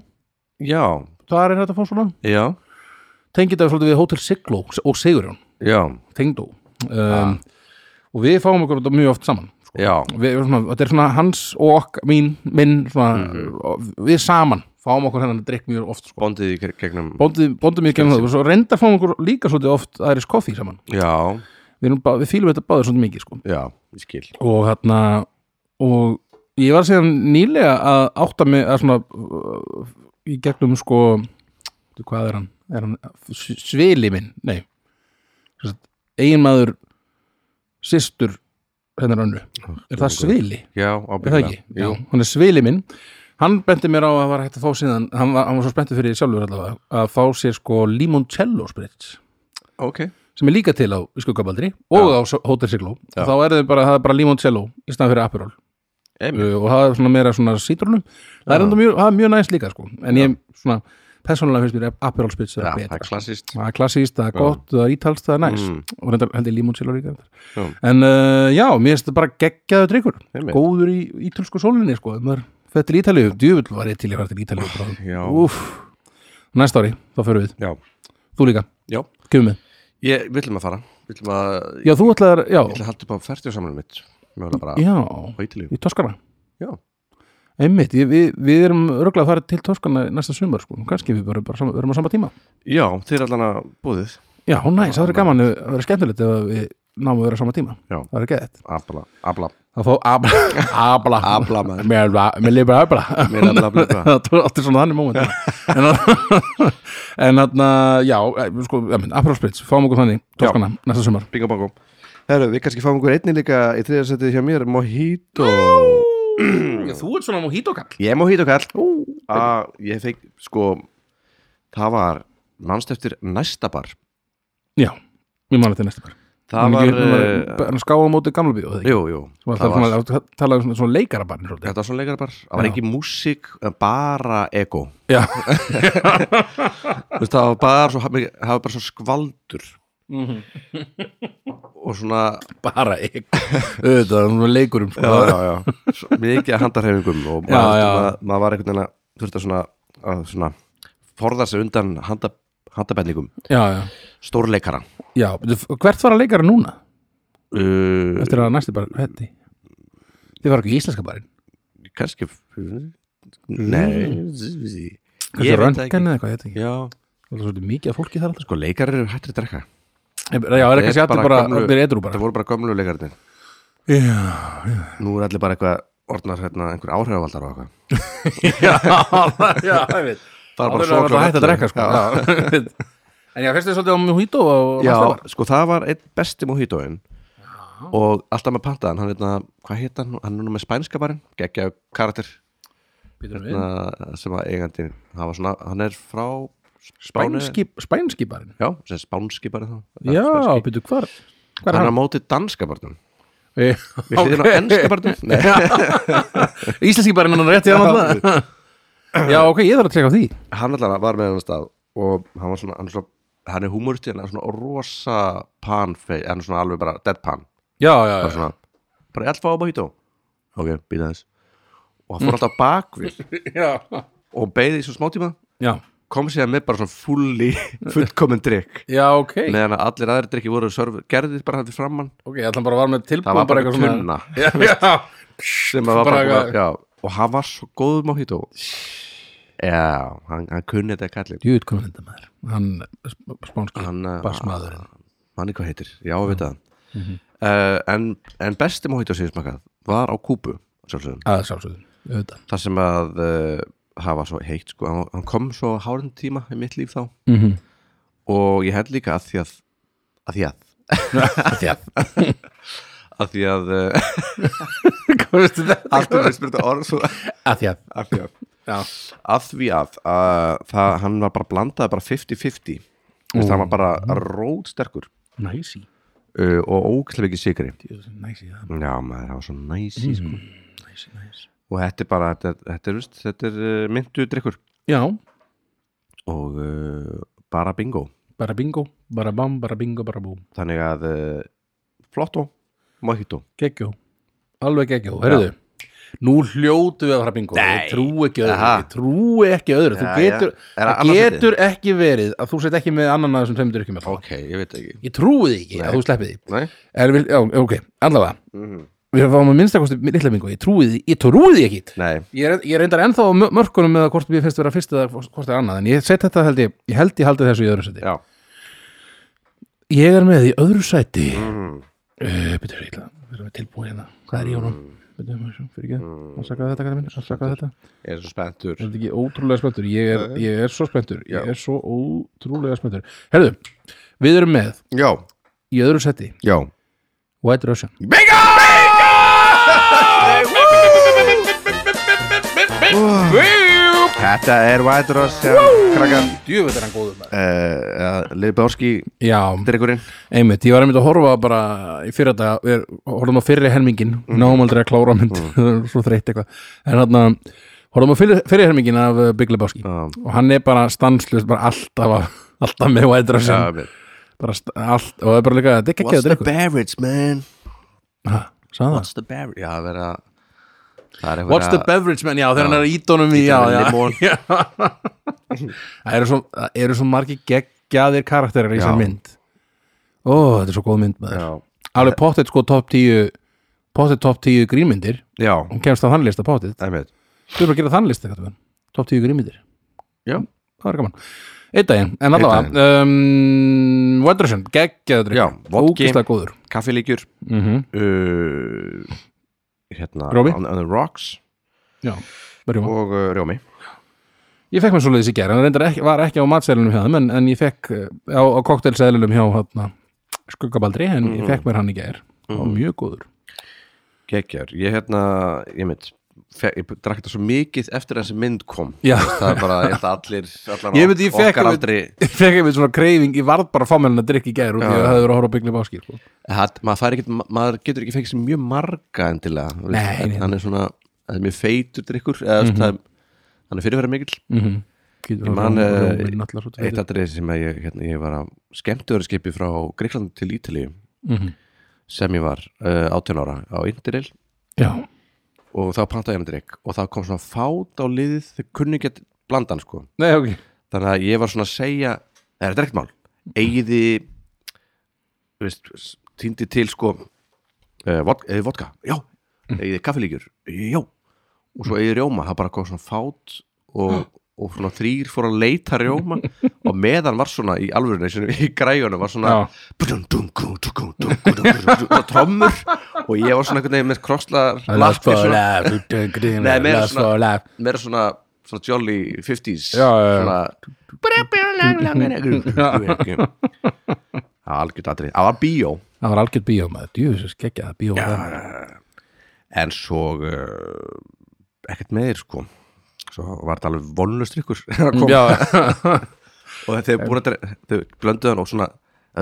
Speaker 1: já,
Speaker 2: þar er þetta að fá svona
Speaker 1: já,
Speaker 2: tengi þetta svolítið við Hotel Siglo og Sigurjón
Speaker 1: já,
Speaker 2: tengdó um, og við fáum okkur þetta mjög oft saman sko.
Speaker 1: já.
Speaker 2: við, svona, þetta er svona hans og ok, mín, minn svona, við saman fáum okkur hennan að drikk mjög oft sko.
Speaker 1: Bondið í geg- gegnum
Speaker 2: bóndum mjög genið um það og svo reyndar fáum okkur líka svolítið oft aðeins koffi saman
Speaker 1: Já,
Speaker 2: við, erum, bá- við fýlum þetta báður svolítið mikið sko.
Speaker 1: já, ég skil
Speaker 2: og hérna og ég var síðan nýlega að átta mig að svona uh, í gegnum sko veitu, hvað er hann, er hann s- svili minn, nei eiginmaður systur hennar önnu, er það svili?
Speaker 1: Já,
Speaker 2: er það
Speaker 1: ábyggilega
Speaker 2: ekki? Já, hann er svili minn hann benti mér á að var hægt að fá síðan hann var, hann var svo spenntur fyrir því sjálfur allavega að fá sér sko limoncello spritz
Speaker 1: Ok,
Speaker 2: sem er líka til á skuggabaldri og á S- Hotel Siglo
Speaker 1: Já.
Speaker 2: þá er þið bara, það er bara limoncello í staðan fyrir Aperol
Speaker 1: einmitt
Speaker 2: uh, og það er svona meira svona sítrónum það er enda mjög, það er mjög næst líka sko en ég svona, persónulega finnst mér Aperol spritz
Speaker 1: Já,
Speaker 2: er
Speaker 1: það er
Speaker 2: betra
Speaker 1: klassist
Speaker 2: það er klassíst, það er gott, það er ítalst, það er næs
Speaker 1: Mm.
Speaker 2: og reyndar held ég limoncello líka
Speaker 1: Já.
Speaker 2: en uh, já, mér finnst þetta bara geggjaðu drikkur
Speaker 1: Einmitt.
Speaker 2: góður í ítölsku sólinni sko, ef maður fætt til Ítalíu, djúvill var ég til ég fætt til Ítalíu
Speaker 1: já.
Speaker 2: bráðum. Úff. næsta ári, þá förum við,
Speaker 1: Já,
Speaker 2: þú líka
Speaker 1: já
Speaker 2: kemur með,
Speaker 1: Ég vil maður fara Vil maður, ég
Speaker 2: já þú ætlar já,
Speaker 1: ætla að halda upp á færtjóðsamlunum mitt Mjögulega bara
Speaker 2: já,
Speaker 1: á Ítalíu
Speaker 2: í Toskana
Speaker 1: Já,
Speaker 2: einmitt, ég, við, við erum röglega að fara til Toskana næsta sumar sko, kannski við bara, bara sama, verum á sama tíma
Speaker 1: já þeir allan að búðið
Speaker 2: já, næs, það verður gaman, að- það verður skemmtilegt ef við náum að vera á sama tíma,
Speaker 1: Já.
Speaker 2: það verður geðið
Speaker 1: Abla, abla
Speaker 2: að fá abla abla,
Speaker 1: Abla, maður.
Speaker 2: mér la- mér lifir abla
Speaker 1: Mér abla, abla, abla.
Speaker 2: þetta er svona þannig moment en að- en þarna, já, eh, sko Apralsprits, fáum okkur þannig, Toskana, næsta sumar
Speaker 1: Bingo bongo Herru, við kannski fáum einhver einni líka í þriðarsætið hjá mér Mojito
Speaker 2: þú ert svona mojitokall
Speaker 1: Ég er Mojito kall að ég fekk, sko það var, mannst eftir næsta bar
Speaker 2: já, ég man þetta næsta bar
Speaker 1: það var, uh,
Speaker 2: var skáða móti gamla bíó þegar
Speaker 1: jú, jú
Speaker 2: það var svona- það talaði um svona- svona leikara barni svolítið
Speaker 1: þetta var svona leikara bar, það var
Speaker 2: Já.
Speaker 1: ekki músík en bara ego
Speaker 2: já,
Speaker 1: Þú veist, það var bara svo, það var bara svo skvaldur og svona
Speaker 2: bara ég auðvitað, það er svona leikurum sko.
Speaker 1: já, já. Svo mikið að handarhefingum og
Speaker 2: Já,
Speaker 1: maður,
Speaker 2: já.
Speaker 1: Maður, maður var einhvern veginn að þurfti að svona, að svona forða sig undan handa, handabendingum
Speaker 2: já, já,
Speaker 1: stórleikara
Speaker 2: já veitu, hvert var að leikara núna?
Speaker 1: uh,
Speaker 2: eftir að næsti bar, hætti þið var ekki í íslenska barinn
Speaker 1: kannski nei
Speaker 2: Kanski röntgen eða eitthvað, ég veit ekki.
Speaker 1: já,
Speaker 2: Það er svolítið mikið af fólki þar alltaf.
Speaker 1: sko leikarar eru hættir að drekka
Speaker 2: Já, er ekki
Speaker 1: Þeir
Speaker 2: sjáttu bara,
Speaker 1: gömlu-
Speaker 2: það er edru bara.
Speaker 1: það voru bara gömlu leikararnir
Speaker 2: Já,
Speaker 1: nú er allir bara eitthvað orðnar hérna einhver áhrifavaldar og eitthvað
Speaker 2: já, já, ég veit.
Speaker 1: það
Speaker 2: Það er bara
Speaker 1: klár
Speaker 2: að hætta að
Speaker 1: völlur.
Speaker 2: drekka, sko.
Speaker 1: já.
Speaker 2: Já, ég veit. En já, fyrst er svolítið á Mojito og
Speaker 1: Já,
Speaker 2: Mastabar.
Speaker 1: sko það var einn besti mojitoinn og alltaf með pantaðan hann hérna, hvað heit hann, hann er nú með spænska barinn geggja karakter
Speaker 2: Býtum við.
Speaker 1: hérna, sem að eigandi hann, var svona, hann er frá Spáni
Speaker 2: Spænski, spænski barinn.
Speaker 1: Já, sem spánski barinn þá
Speaker 2: Já,
Speaker 1: Spænski.
Speaker 2: býtum hvar,
Speaker 1: Hann
Speaker 2: hvar er
Speaker 1: er á
Speaker 2: hann?
Speaker 1: móti danska barnum
Speaker 2: Við
Speaker 1: Við hliðin á ennska barnum Nei,
Speaker 2: Íslenski barinn hann er rétt í hann alltaf. Já, ok, ég þarf að tjekka á því.
Speaker 1: Hann allan var með hann stað og hann var svona, hann, er svona, hann er humoristi hann er svona rosa panfei hann er svona alveg bara deadpan
Speaker 2: Já, já,
Speaker 1: bara
Speaker 2: já.
Speaker 1: svona, bara ég ætla að fá á mojito ok, býta þess og hann fór alltaf bakvið
Speaker 2: Já,
Speaker 1: og beigði í svo smá tíma
Speaker 2: já.
Speaker 1: kom sér með bara svona fulli fullkomin drikk
Speaker 2: Já, ok.
Speaker 1: meðan að allir aðri drikki voru serv, gerðið bara hann fyrir framann
Speaker 2: Ok, ég ætla bara að vara með
Speaker 1: það
Speaker 2: tilbúin
Speaker 1: var
Speaker 2: bara
Speaker 1: bara
Speaker 2: eitthvað
Speaker 1: tunna
Speaker 2: svona. Já, já.
Speaker 1: sem að var
Speaker 2: Bara
Speaker 1: bara,
Speaker 2: eitthvað-
Speaker 1: bara já, og hann var svo góður mojito já, hann, hann kunni þetta kallið
Speaker 2: Júið, hvað er þetta maður? Hann, sp- spánski,
Speaker 1: hann, eh,
Speaker 2: basmaðurinn.
Speaker 1: manni hvað heitir, já, við veit það uh, en, en besti mojito sem ég smakað var á Kúbu sjálfsögum,
Speaker 2: að sjálfsögðu, auðvitað
Speaker 1: þar sem að uh, það var svo heitt sko, hann, hann kom svo hárin tíma í mitt líf þá
Speaker 2: mm -hmm.
Speaker 1: og ég held líka að því að að því að
Speaker 2: já,
Speaker 1: af því að uh,
Speaker 2: Hvað veistu þetta?
Speaker 1: alltaf við spyrta orð svo,
Speaker 2: Að því að
Speaker 1: af því að
Speaker 2: Já,
Speaker 1: af því að, að það, hann var bara blandaði bara 50-50 Þú veist, hann var bara rótsterkur
Speaker 2: næsi
Speaker 1: uh, og óklæð ekki sigri
Speaker 2: Næsi, það
Speaker 1: já maður, það var svo næsi
Speaker 2: Mhm. Mm.
Speaker 1: sko.
Speaker 2: er næsi, næsi
Speaker 1: og þetta er bara, þetta, er- þetta er, veist, þetta er uh, myndu drikkur
Speaker 2: Já,
Speaker 1: og uh, bara bingo
Speaker 2: bara bingo, bara bam, bara bingo, bara búm
Speaker 1: þannig að uh, flotto, mojito
Speaker 2: Geggjó, alveg geggjó, herruðu Nú hljótu við að fara bingo
Speaker 1: Nei.
Speaker 2: Ég trú ekki öðru,
Speaker 1: Aha.
Speaker 2: ég trú ekki öðru Þú
Speaker 1: Já,
Speaker 2: getur,
Speaker 1: já. Er það
Speaker 2: það
Speaker 1: annað
Speaker 2: getur ekki verið að þú sett ekki með annan að þessum tveimur drykkum allavega.
Speaker 1: ok, ég veit ekki
Speaker 2: Ég trúið ekki
Speaker 1: Nei.
Speaker 2: að þú sleppið því
Speaker 1: Nei?
Speaker 2: Er, vil, já, ok, allavega Við fáum að minnstakosti litla bingo, ég trúið því Ég trúið því ekki
Speaker 1: Nei.
Speaker 2: Ég er, ég er reyndar ennþá á mör- mörkunum með að hvort við finnst vera fyrst eða hvort er annað en ég set þetta held ég, ég held ég haldi þessu í öðru seti
Speaker 1: já,
Speaker 2: Ég er með í öðru sæti
Speaker 1: Mhm.
Speaker 2: mm. uh, Betur við illa, við erum tilbúin hérna Hvað er í honum? Betur við sjá, fyrir ekki Afsakaði þetta, kæra minn, afsakaði þetta Er
Speaker 1: ég er svo spenntur
Speaker 2: þetta ekki ótrúlega spenntur? Ég er, ég er svo spenntur, ég er svo ótrúlega spenntur Herðu, við erum með
Speaker 1: já,
Speaker 2: í öðru seti
Speaker 1: já
Speaker 2: White Russian
Speaker 1: bingo! Þetta er White Rose krakkan
Speaker 2: Djöfut er hann góður maður
Speaker 1: uh, Liðbjórski
Speaker 2: Já,
Speaker 1: drikkurinn
Speaker 2: Einmitt, ég var einmitt að horfa bara í fyrir þetta, við horfum á fyrri helmingin mm. náum aldrei að klára mynd svo þreytt eitthvað, en hann að horfum á fyrri, fyrri helmingin af uh, Big Lebowski
Speaker 1: Já.
Speaker 2: og hann er bara stanslust bara alltaf, að- alltaf með White Russian bara st- allt, og það er bara líka þetta er ekki að drikku,
Speaker 1: beverage man?
Speaker 2: sagði það
Speaker 1: What's the beverage? Já, það er að það er
Speaker 2: What's the beverage man, já, þegar hann er í ídónum í, já,
Speaker 1: Ídónum í
Speaker 2: já,
Speaker 1: limón.
Speaker 2: já það eru svo, það eru svo margi geggjaðir karakterar í
Speaker 1: Já.
Speaker 2: þessar mynd ó, þetta er svo góð mynd maður
Speaker 1: Já,
Speaker 2: alveg pottet sko top 10 pottet top 10 grínmyndir
Speaker 1: já
Speaker 2: hún kemst á þann lista pottet
Speaker 1: einmitt.
Speaker 2: þú erum að gera þann lista hvað top 10 grínmyndir
Speaker 1: Já,
Speaker 2: það er gaman einn daginn en allavega um, Wedderson geggjaður
Speaker 1: Já,
Speaker 2: drikkur.
Speaker 1: vodki.
Speaker 2: ógeðslega góður
Speaker 1: kaffilíkjur
Speaker 2: mm -hmm.
Speaker 1: uh, hérna
Speaker 2: Rjómi?
Speaker 1: on, on the rocks
Speaker 2: já Berjúma.
Speaker 1: og uh, Rjómi
Speaker 2: ég fekk mér svo leiðis í gerð en reyndar ekki, var ekki á matseðlunum hjá þeim en, en ég fekk eh, á, á koktelseðlunum hjá hátna, skuggabaldri en ég fekk mér hann í gerð og mjög góður
Speaker 1: Kekjar, ég hérna, ég mynd fe- ég drakk þetta svo mikið eftir að þessi mynd kom
Speaker 2: Já.
Speaker 1: það er bara, ég held að allir allan
Speaker 2: Ég veit, ég fekk
Speaker 1: okkar
Speaker 2: einmitt-
Speaker 1: aldrei
Speaker 2: ég fekk einmitt svona kreifing, ég varð bara að fá mér hann að drikki í gerð og ég
Speaker 1: Já.
Speaker 2: hafði verið að horfa byggli báskir sko.
Speaker 1: það, maður, fær ekkit, ma- maður getur ekki fengið sér mjög marga endilega þú veist,
Speaker 2: Nei, Mhm. nei.
Speaker 1: en hann er svona, það er mjög feitur drikkur eða mm -hmm. hann er fyrirverða mikill
Speaker 2: Mhm. Getur
Speaker 1: Ég
Speaker 2: hann
Speaker 1: man,
Speaker 2: rjómi-
Speaker 1: eh,
Speaker 2: rjóminn allar svo tveitur.
Speaker 1: eitt aðrið sem að ég, hérna, ég var að skemmtöður skipi frá Gríkland til Ítalíu
Speaker 2: Mhm.
Speaker 1: sem ég var uh, 18 ára á Interrail
Speaker 2: Já,
Speaker 1: og þá pantaði ég hann drikk og þá kom svona fát á liðið þau kunni ekki að blanda hann sko
Speaker 2: nei ok
Speaker 1: þannig að ég var svona að segja það er drekkt mál, eigiði þú veist, týndi til sko uh, vod, eða vodka, já eigiði kaffilíkjur, já og svo eigiði rjóma, það bara kom svona fát og, og svona þrýr fór að leita rjóma og meðan var svona í alvörinu, svona, í græjunum var svona
Speaker 2: Já.
Speaker 1: budum, dum, gú, dú, gú, dú, gú, dú, gú, dú, og trommur og ég var svona einhvern veginn með krossla
Speaker 2: Last for
Speaker 1: svona-
Speaker 2: life du- du- du- du-
Speaker 1: Nei, meira
Speaker 2: Last
Speaker 1: svona-
Speaker 2: for life
Speaker 1: meira svona, svona jolly 50s
Speaker 2: Já, já, já.
Speaker 1: svona algjörð atrið, það var bíó
Speaker 2: Það var algjörð bíó maður, djúfis gekkja það bíó maður.
Speaker 1: en svo uh, ekkert meðir sko svo var þetta alveg vonlust ykkur
Speaker 2: Já,
Speaker 1: og þau búin að dre- þau blönduðu hann og svona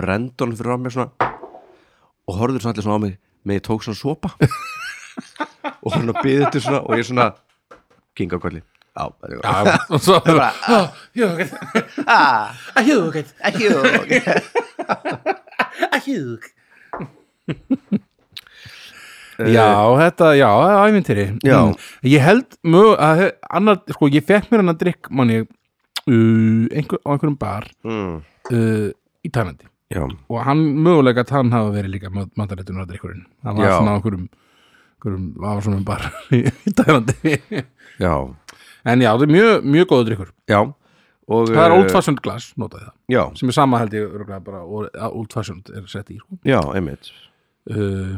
Speaker 1: rendu hann fyrir á mig svona og horfður svona allir svona á mig með ég tók svona sopa og hann að byði þetta svona og ég svona kinga kolli á, já, já,
Speaker 2: já, og svo er bara "Ah, Jú, ok Ah, Jú, ok
Speaker 3: Ekki þú
Speaker 2: Ah, Jú Já, þetta, já, það er ævintýri
Speaker 1: Eh, Já.
Speaker 2: Mm. Ég held mög að annar, sko, ég fekk mér hann að drikk manni uh, einhver, á einhverjum bar
Speaker 1: mm,
Speaker 2: uh, í Tælandi
Speaker 1: já.
Speaker 2: og hann mögulega að hann hafa verið líka mataréttunar að drikkurinn hann var
Speaker 1: Já.
Speaker 2: svona á einhverjum einhverjum, hann var svona bara í í Tælandi
Speaker 1: Já,
Speaker 2: en já, þetta er mjög, mjög góður drikkur
Speaker 1: já og,
Speaker 2: það er
Speaker 1: eh,
Speaker 2: old fashioned glass, notaði það
Speaker 1: Já,
Speaker 2: sem er sama held ég örugglega bara og- að old fashioned er sett í sko.
Speaker 1: já, einmitt
Speaker 2: uh,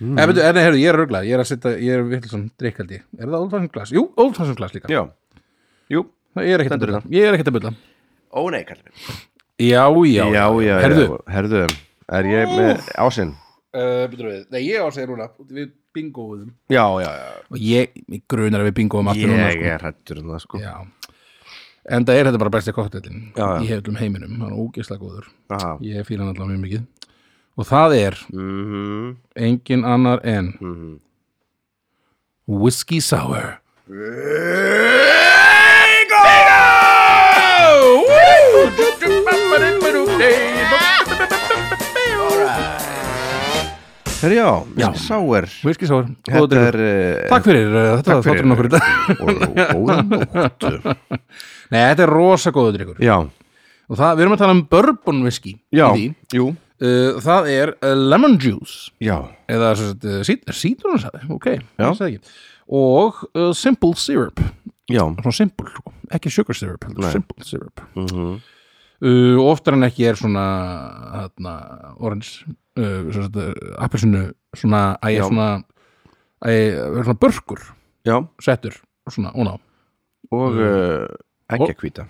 Speaker 2: mm. en, veitu, en heyrðu, ég er röglega ég er að setja, ég er vill svona drikk held ég er það old fashioned glass? Jú, old fashioned glass líka
Speaker 1: Já, jú
Speaker 2: Það- ég er ekkert að
Speaker 1: Stendur
Speaker 2: bylla ég er ekkert að bylla
Speaker 1: Ó nei, kallum
Speaker 2: já, já,
Speaker 1: Já, já,
Speaker 2: heyrðu,
Speaker 1: já, herðu Er ég með ásinn?
Speaker 2: uh, Býtur við, nei ég á að segja núna Við bingoðum
Speaker 1: já, já, já
Speaker 2: Og ég, mig grunar að við bingoðum aftur núna
Speaker 1: Ég
Speaker 2: sko.
Speaker 1: er hættur um það sko
Speaker 2: Já En það er þetta bara besti koktelin
Speaker 1: Já, já.
Speaker 2: Í hefðlum heiminum, hann er ógeðslega góður
Speaker 1: Aha.
Speaker 2: Ég fíla hann allavega mjög mikið Og það er
Speaker 1: Mhm,
Speaker 2: engin annar en
Speaker 1: mhm
Speaker 2: Whiskey Sour
Speaker 1: Bingo! Herjá,
Speaker 2: Já.
Speaker 1: sáir
Speaker 2: Whiskey Sour, góður
Speaker 1: Þetta
Speaker 2: drengur.
Speaker 1: er eh,
Speaker 2: Takk fyrir, uh, þetta var
Speaker 1: fyrir.
Speaker 2: þátturinn okkur í dag
Speaker 1: og- og góða nóttu
Speaker 2: Nei, þetta er rosa góður drikkur
Speaker 1: Já,
Speaker 2: Og það, við erum að tala um bourbon whisky
Speaker 1: já,
Speaker 2: í því.
Speaker 1: jú
Speaker 2: uh, Það er uh, lemon juice
Speaker 1: Já,
Speaker 2: Eða sem sagt, uh, sít- sítrunusaði, ok
Speaker 1: Já.
Speaker 2: ég sagði ekki. Og uh, simple syrup
Speaker 1: já
Speaker 2: Svona simple, sko. ekki sugar syrup heldur,
Speaker 1: Nei.
Speaker 2: Simple syrup
Speaker 1: mhm.
Speaker 2: uh, og Oftar en ekki er svona hérna, orange uh, sem sagt, uh, appelsinu Svona, æ,
Speaker 1: Já.
Speaker 2: svona, æ, svona börkur
Speaker 1: Já,
Speaker 2: Settur, svona, óná
Speaker 1: og
Speaker 2: Mm.
Speaker 1: uh, ekki að hvíta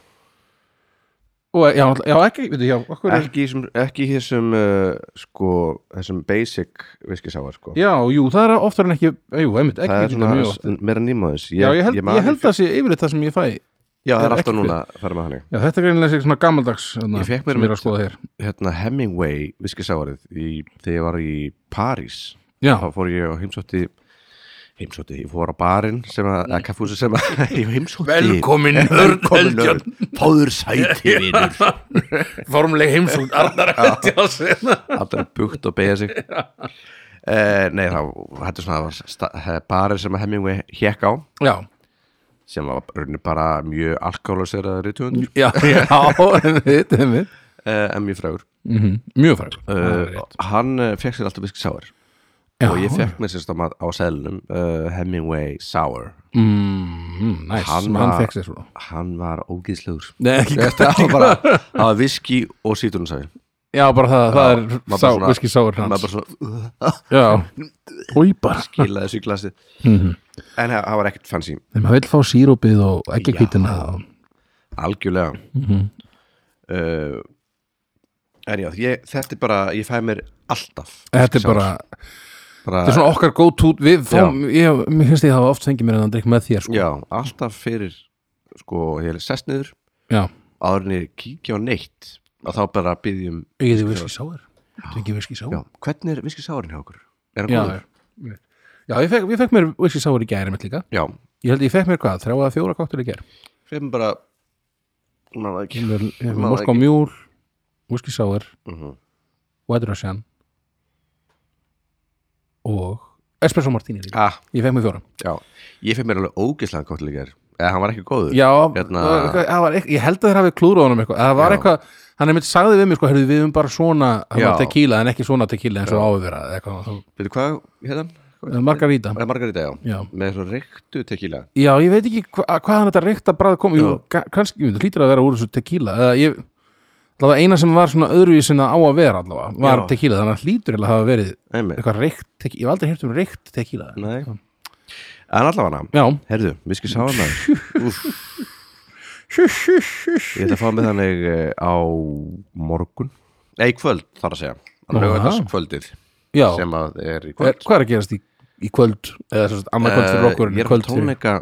Speaker 2: Og já, já ekki, veitu, já, okkur er
Speaker 1: Ekki, í þessum- ekki í þessum uh, sko, þessum basic viskisáar sko
Speaker 2: Já, jú, það er oftar en ekki, jú, einmitt, ekki
Speaker 1: Það er
Speaker 2: vítið mjög oft.
Speaker 1: svona meira nýmaðis
Speaker 2: Já, ég held, ég held að sé yfirleitt það sem ég fæ Já,
Speaker 1: Já, það er
Speaker 2: ekki
Speaker 1: alltaf
Speaker 2: fyrir.
Speaker 1: núna að fara með hannig
Speaker 2: þetta er greinilega sér svona gammaldags hana,
Speaker 1: Ég fékk mér
Speaker 2: sem ég er
Speaker 1: mynd.
Speaker 2: að skoða hér
Speaker 1: hérna Hemingway viskisárið í, þegar ég var í París
Speaker 2: Já,
Speaker 1: þá fór ég og heimsótti heimsótti, ég fór á barinn sem að, að kaffúsi sem að ég heimsótti
Speaker 2: Hörn
Speaker 1: Velkomin, Örn. fáður sæti vinur
Speaker 2: Formleg heimsókn Arnar Eldjás
Speaker 1: alltaf er bukt og beigja sig uh, nei þá, þetta er svona sta- eh, barinn sem að Hemingway hekk á
Speaker 2: Já,
Speaker 1: sem var rauninu bara mjög alkoholisera rítugundur
Speaker 2: já, já, þetta er mér
Speaker 1: uh, en mjög frægur
Speaker 2: Mjög frægur Það er
Speaker 1: uh,
Speaker 2: rétt.
Speaker 1: hann uh, fekk sér alltaf viskisáir
Speaker 2: Já.
Speaker 1: og ég fekk mér sérst á, á selnum uh, Hemingway Sour
Speaker 2: Mm, Næs,
Speaker 1: Hann
Speaker 2: hann
Speaker 1: var-
Speaker 2: fekk sér svona
Speaker 1: hann var ógíslegur
Speaker 2: Nei, ekki gott
Speaker 1: það var bara það var viski og sítrunsafi
Speaker 2: Já, bara það, það er
Speaker 1: maður bara
Speaker 2: sá,
Speaker 1: svona-
Speaker 2: viski sáur
Speaker 1: maður
Speaker 2: hans
Speaker 1: bara svona
Speaker 2: Já, og ég bara
Speaker 1: gilaði þessu í glasi
Speaker 2: Mhm.
Speaker 1: en það það var ekkert fancy
Speaker 2: Þegar maður vil fá sírópið og ekki kvítina
Speaker 1: algjörlega
Speaker 2: Mhm.
Speaker 1: uh, en já ég, þetta er bara ég fæ mér alltaf
Speaker 2: Þetta er
Speaker 1: Sá-
Speaker 2: bara,
Speaker 1: bara
Speaker 2: Þetta er svona okkar góð tút við fáum, ég, mér finnst ég hafa oft fengið mér en að drikk með þér sko.
Speaker 1: já alltaf fyrir sko ég er sest niður
Speaker 2: já,
Speaker 1: áður en ég kíkja á neitt og þá bara byggjum
Speaker 2: ég geti viski sáður ég geti viski
Speaker 1: já
Speaker 2: sáður
Speaker 1: hvernig er viski sárin hjá okkur er hann
Speaker 2: já,
Speaker 1: góður
Speaker 2: já. já ég, fekk, ég fekk mér viski sáður í gæri mitt líka
Speaker 1: já
Speaker 2: ég held ég fekk mér hvað, þrjá að fjóra káttur í gær
Speaker 1: fyrir bara maður það ekki
Speaker 2: Ég hef
Speaker 1: Maður
Speaker 2: morsk á
Speaker 1: ekki.
Speaker 2: mjúl viski sáður,
Speaker 1: Mhm.
Speaker 2: White Russian og Espresso Martini líka
Speaker 1: ah
Speaker 2: ég fekk mér fjóra
Speaker 1: Já, ég fekk mér alveg ógeðslega gott líkar eða hann var ekki góður
Speaker 2: já,
Speaker 1: Hérna-
Speaker 2: það var eitthvað- það var eitthvað- ég held að þeir hafi klúður á honum eitthvað það var
Speaker 1: Já.
Speaker 2: eitthvað Hann einmitt sagði við mig, sko, heyrðu, við um bara svona
Speaker 1: Já.
Speaker 2: hana, tequila, en ekki svona tequila eins og áður vera eða eitthvað, þá
Speaker 1: Veitu hvað, hérna?
Speaker 2: Margarita
Speaker 1: Er Margarita, já,
Speaker 2: Já.
Speaker 1: með svo reyktu tequila
Speaker 2: Já, ég veit ekki hva, hvaðan þetta reykta bræð kom
Speaker 1: Já.
Speaker 2: Jú, ga- kannski, jú, það hlýtur að vera úr þessu tequila eða ég, allavega eina sem var svona öðruvísin að á að vera allavega, var
Speaker 1: Já.
Speaker 2: tequila þannig að hlýtur eiginlega að hafa verið
Speaker 1: Einmitt.
Speaker 2: eitthvað reykt, tequila. ég hef aldrei heyrt um reykt tequila
Speaker 1: Nei, en allavega hana
Speaker 2: Já,
Speaker 1: Herðu, við skil sá hana Úf, Ég ætla að fá mig þannig eh, á morgun Nei, í kvöld þarf að segja
Speaker 2: Nú,
Speaker 1: Lögðars
Speaker 2: já.
Speaker 1: kvöldið
Speaker 2: já,
Speaker 1: sem að er í
Speaker 2: er,
Speaker 1: kvöld
Speaker 2: hvað er að gerast í, í kvöld eða svo annað kvöld fyrir
Speaker 1: Eh,
Speaker 2: okkur en
Speaker 1: Ég er
Speaker 2: kvöld
Speaker 1: á tónleika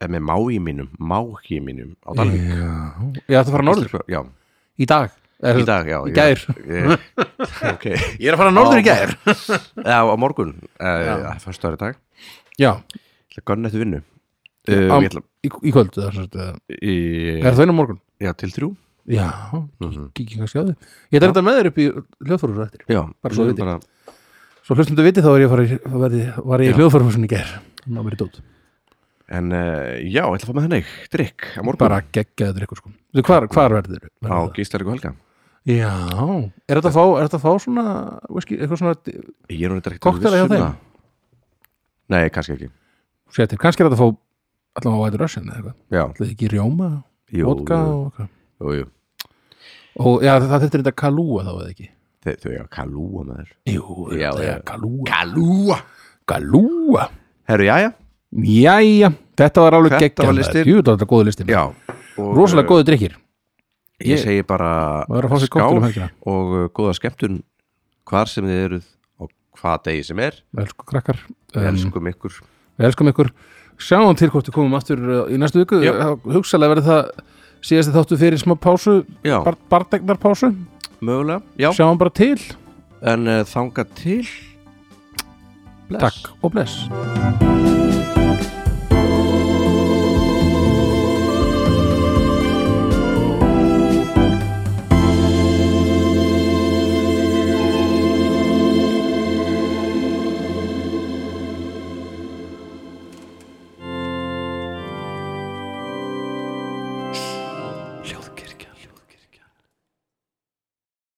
Speaker 1: eh, með mái mínum, máhi mínum á Dalvík
Speaker 2: fyrir Já, þetta fara norður
Speaker 1: Já,
Speaker 2: í dag eða,
Speaker 1: í dag, já
Speaker 2: í
Speaker 1: ég-
Speaker 2: gær
Speaker 1: ég- Ok,
Speaker 2: Ég er að fara
Speaker 1: norður í gær. Já, á morgun eh, Það er fyrstu ári dag Ég
Speaker 2: Já,
Speaker 1: ætla að ganna eftir vinnu
Speaker 2: á-
Speaker 1: uh, Ég ætla Eh.
Speaker 2: í, í kvöld eða, svo, eða,
Speaker 1: í,
Speaker 2: er það einu morgun?
Speaker 1: Já, til þrjú
Speaker 2: Já, kíkja kannski á þau Ég ætla þetta með þér upp í hljóðfórur eftir
Speaker 1: Mhm. Já,
Speaker 2: Bara svo
Speaker 1: ég
Speaker 2: viti.
Speaker 1: bara,
Speaker 2: Svo hlustum þú vitið þá var ég, að fara, í- var ég, var ég í hljóðfórhúsin í ger Ná mér í dót
Speaker 1: En uh, já, ég ætla að fá með hennig Drykk á morgun
Speaker 2: Bara geggjaður drikkur sko Þú hvar, hvar verður
Speaker 1: Á
Speaker 2: þér?
Speaker 1: Gíslaríku helga
Speaker 2: Já Er þetta að fá, er þetta að fá svona whisky, eitthvað svona
Speaker 1: Ég er nú reyndar ekkert
Speaker 2: Kokteila hjá
Speaker 1: viss um
Speaker 2: þeim?
Speaker 1: það. Nei, kannski ekki
Speaker 2: setir Kannski er þetta að fá allan á White Russian eða eitthvað
Speaker 1: Já,
Speaker 2: Það ekki rjóma,
Speaker 1: jú, jú,
Speaker 2: vodka og eitthvað
Speaker 1: jú, jú.
Speaker 2: Og já, það þetta er þetta kalúa þá eða ekki
Speaker 1: Þau, þau eiga kalúa með þér
Speaker 2: Jú,
Speaker 1: Já,
Speaker 2: þetta
Speaker 1: já.
Speaker 2: er kalúa
Speaker 1: Kalúa
Speaker 2: Kalúa
Speaker 1: Herru, jæja
Speaker 2: Jæja, þetta var alveg
Speaker 1: Þetta var
Speaker 2: geggjaður
Speaker 1: listinn.
Speaker 2: Jú, þetta var góðu listin
Speaker 1: Já og, uh,
Speaker 2: Rosalega góðu drikkir
Speaker 1: eh, Ég segi bara
Speaker 2: Maður er að fá sér kokteil um helgina.
Speaker 1: og uh, góða skemmtun hvar sem þið eruð hvað degi sem er
Speaker 2: elsku krakkar um,
Speaker 1: elskum ykkur
Speaker 2: við elskum ykkur, sjáum til hvort við komum aftur uh, í næstu viku,
Speaker 1: Já.
Speaker 2: Þá hugsalega verður það síðasti þáttu fyrir smá pásu
Speaker 1: Já.
Speaker 2: bar, bardeignar pásu,
Speaker 1: mögulega, já,
Speaker 2: sjáum bara til
Speaker 1: en uh, þanga til
Speaker 2: takk og bless
Speaker 1: Bless.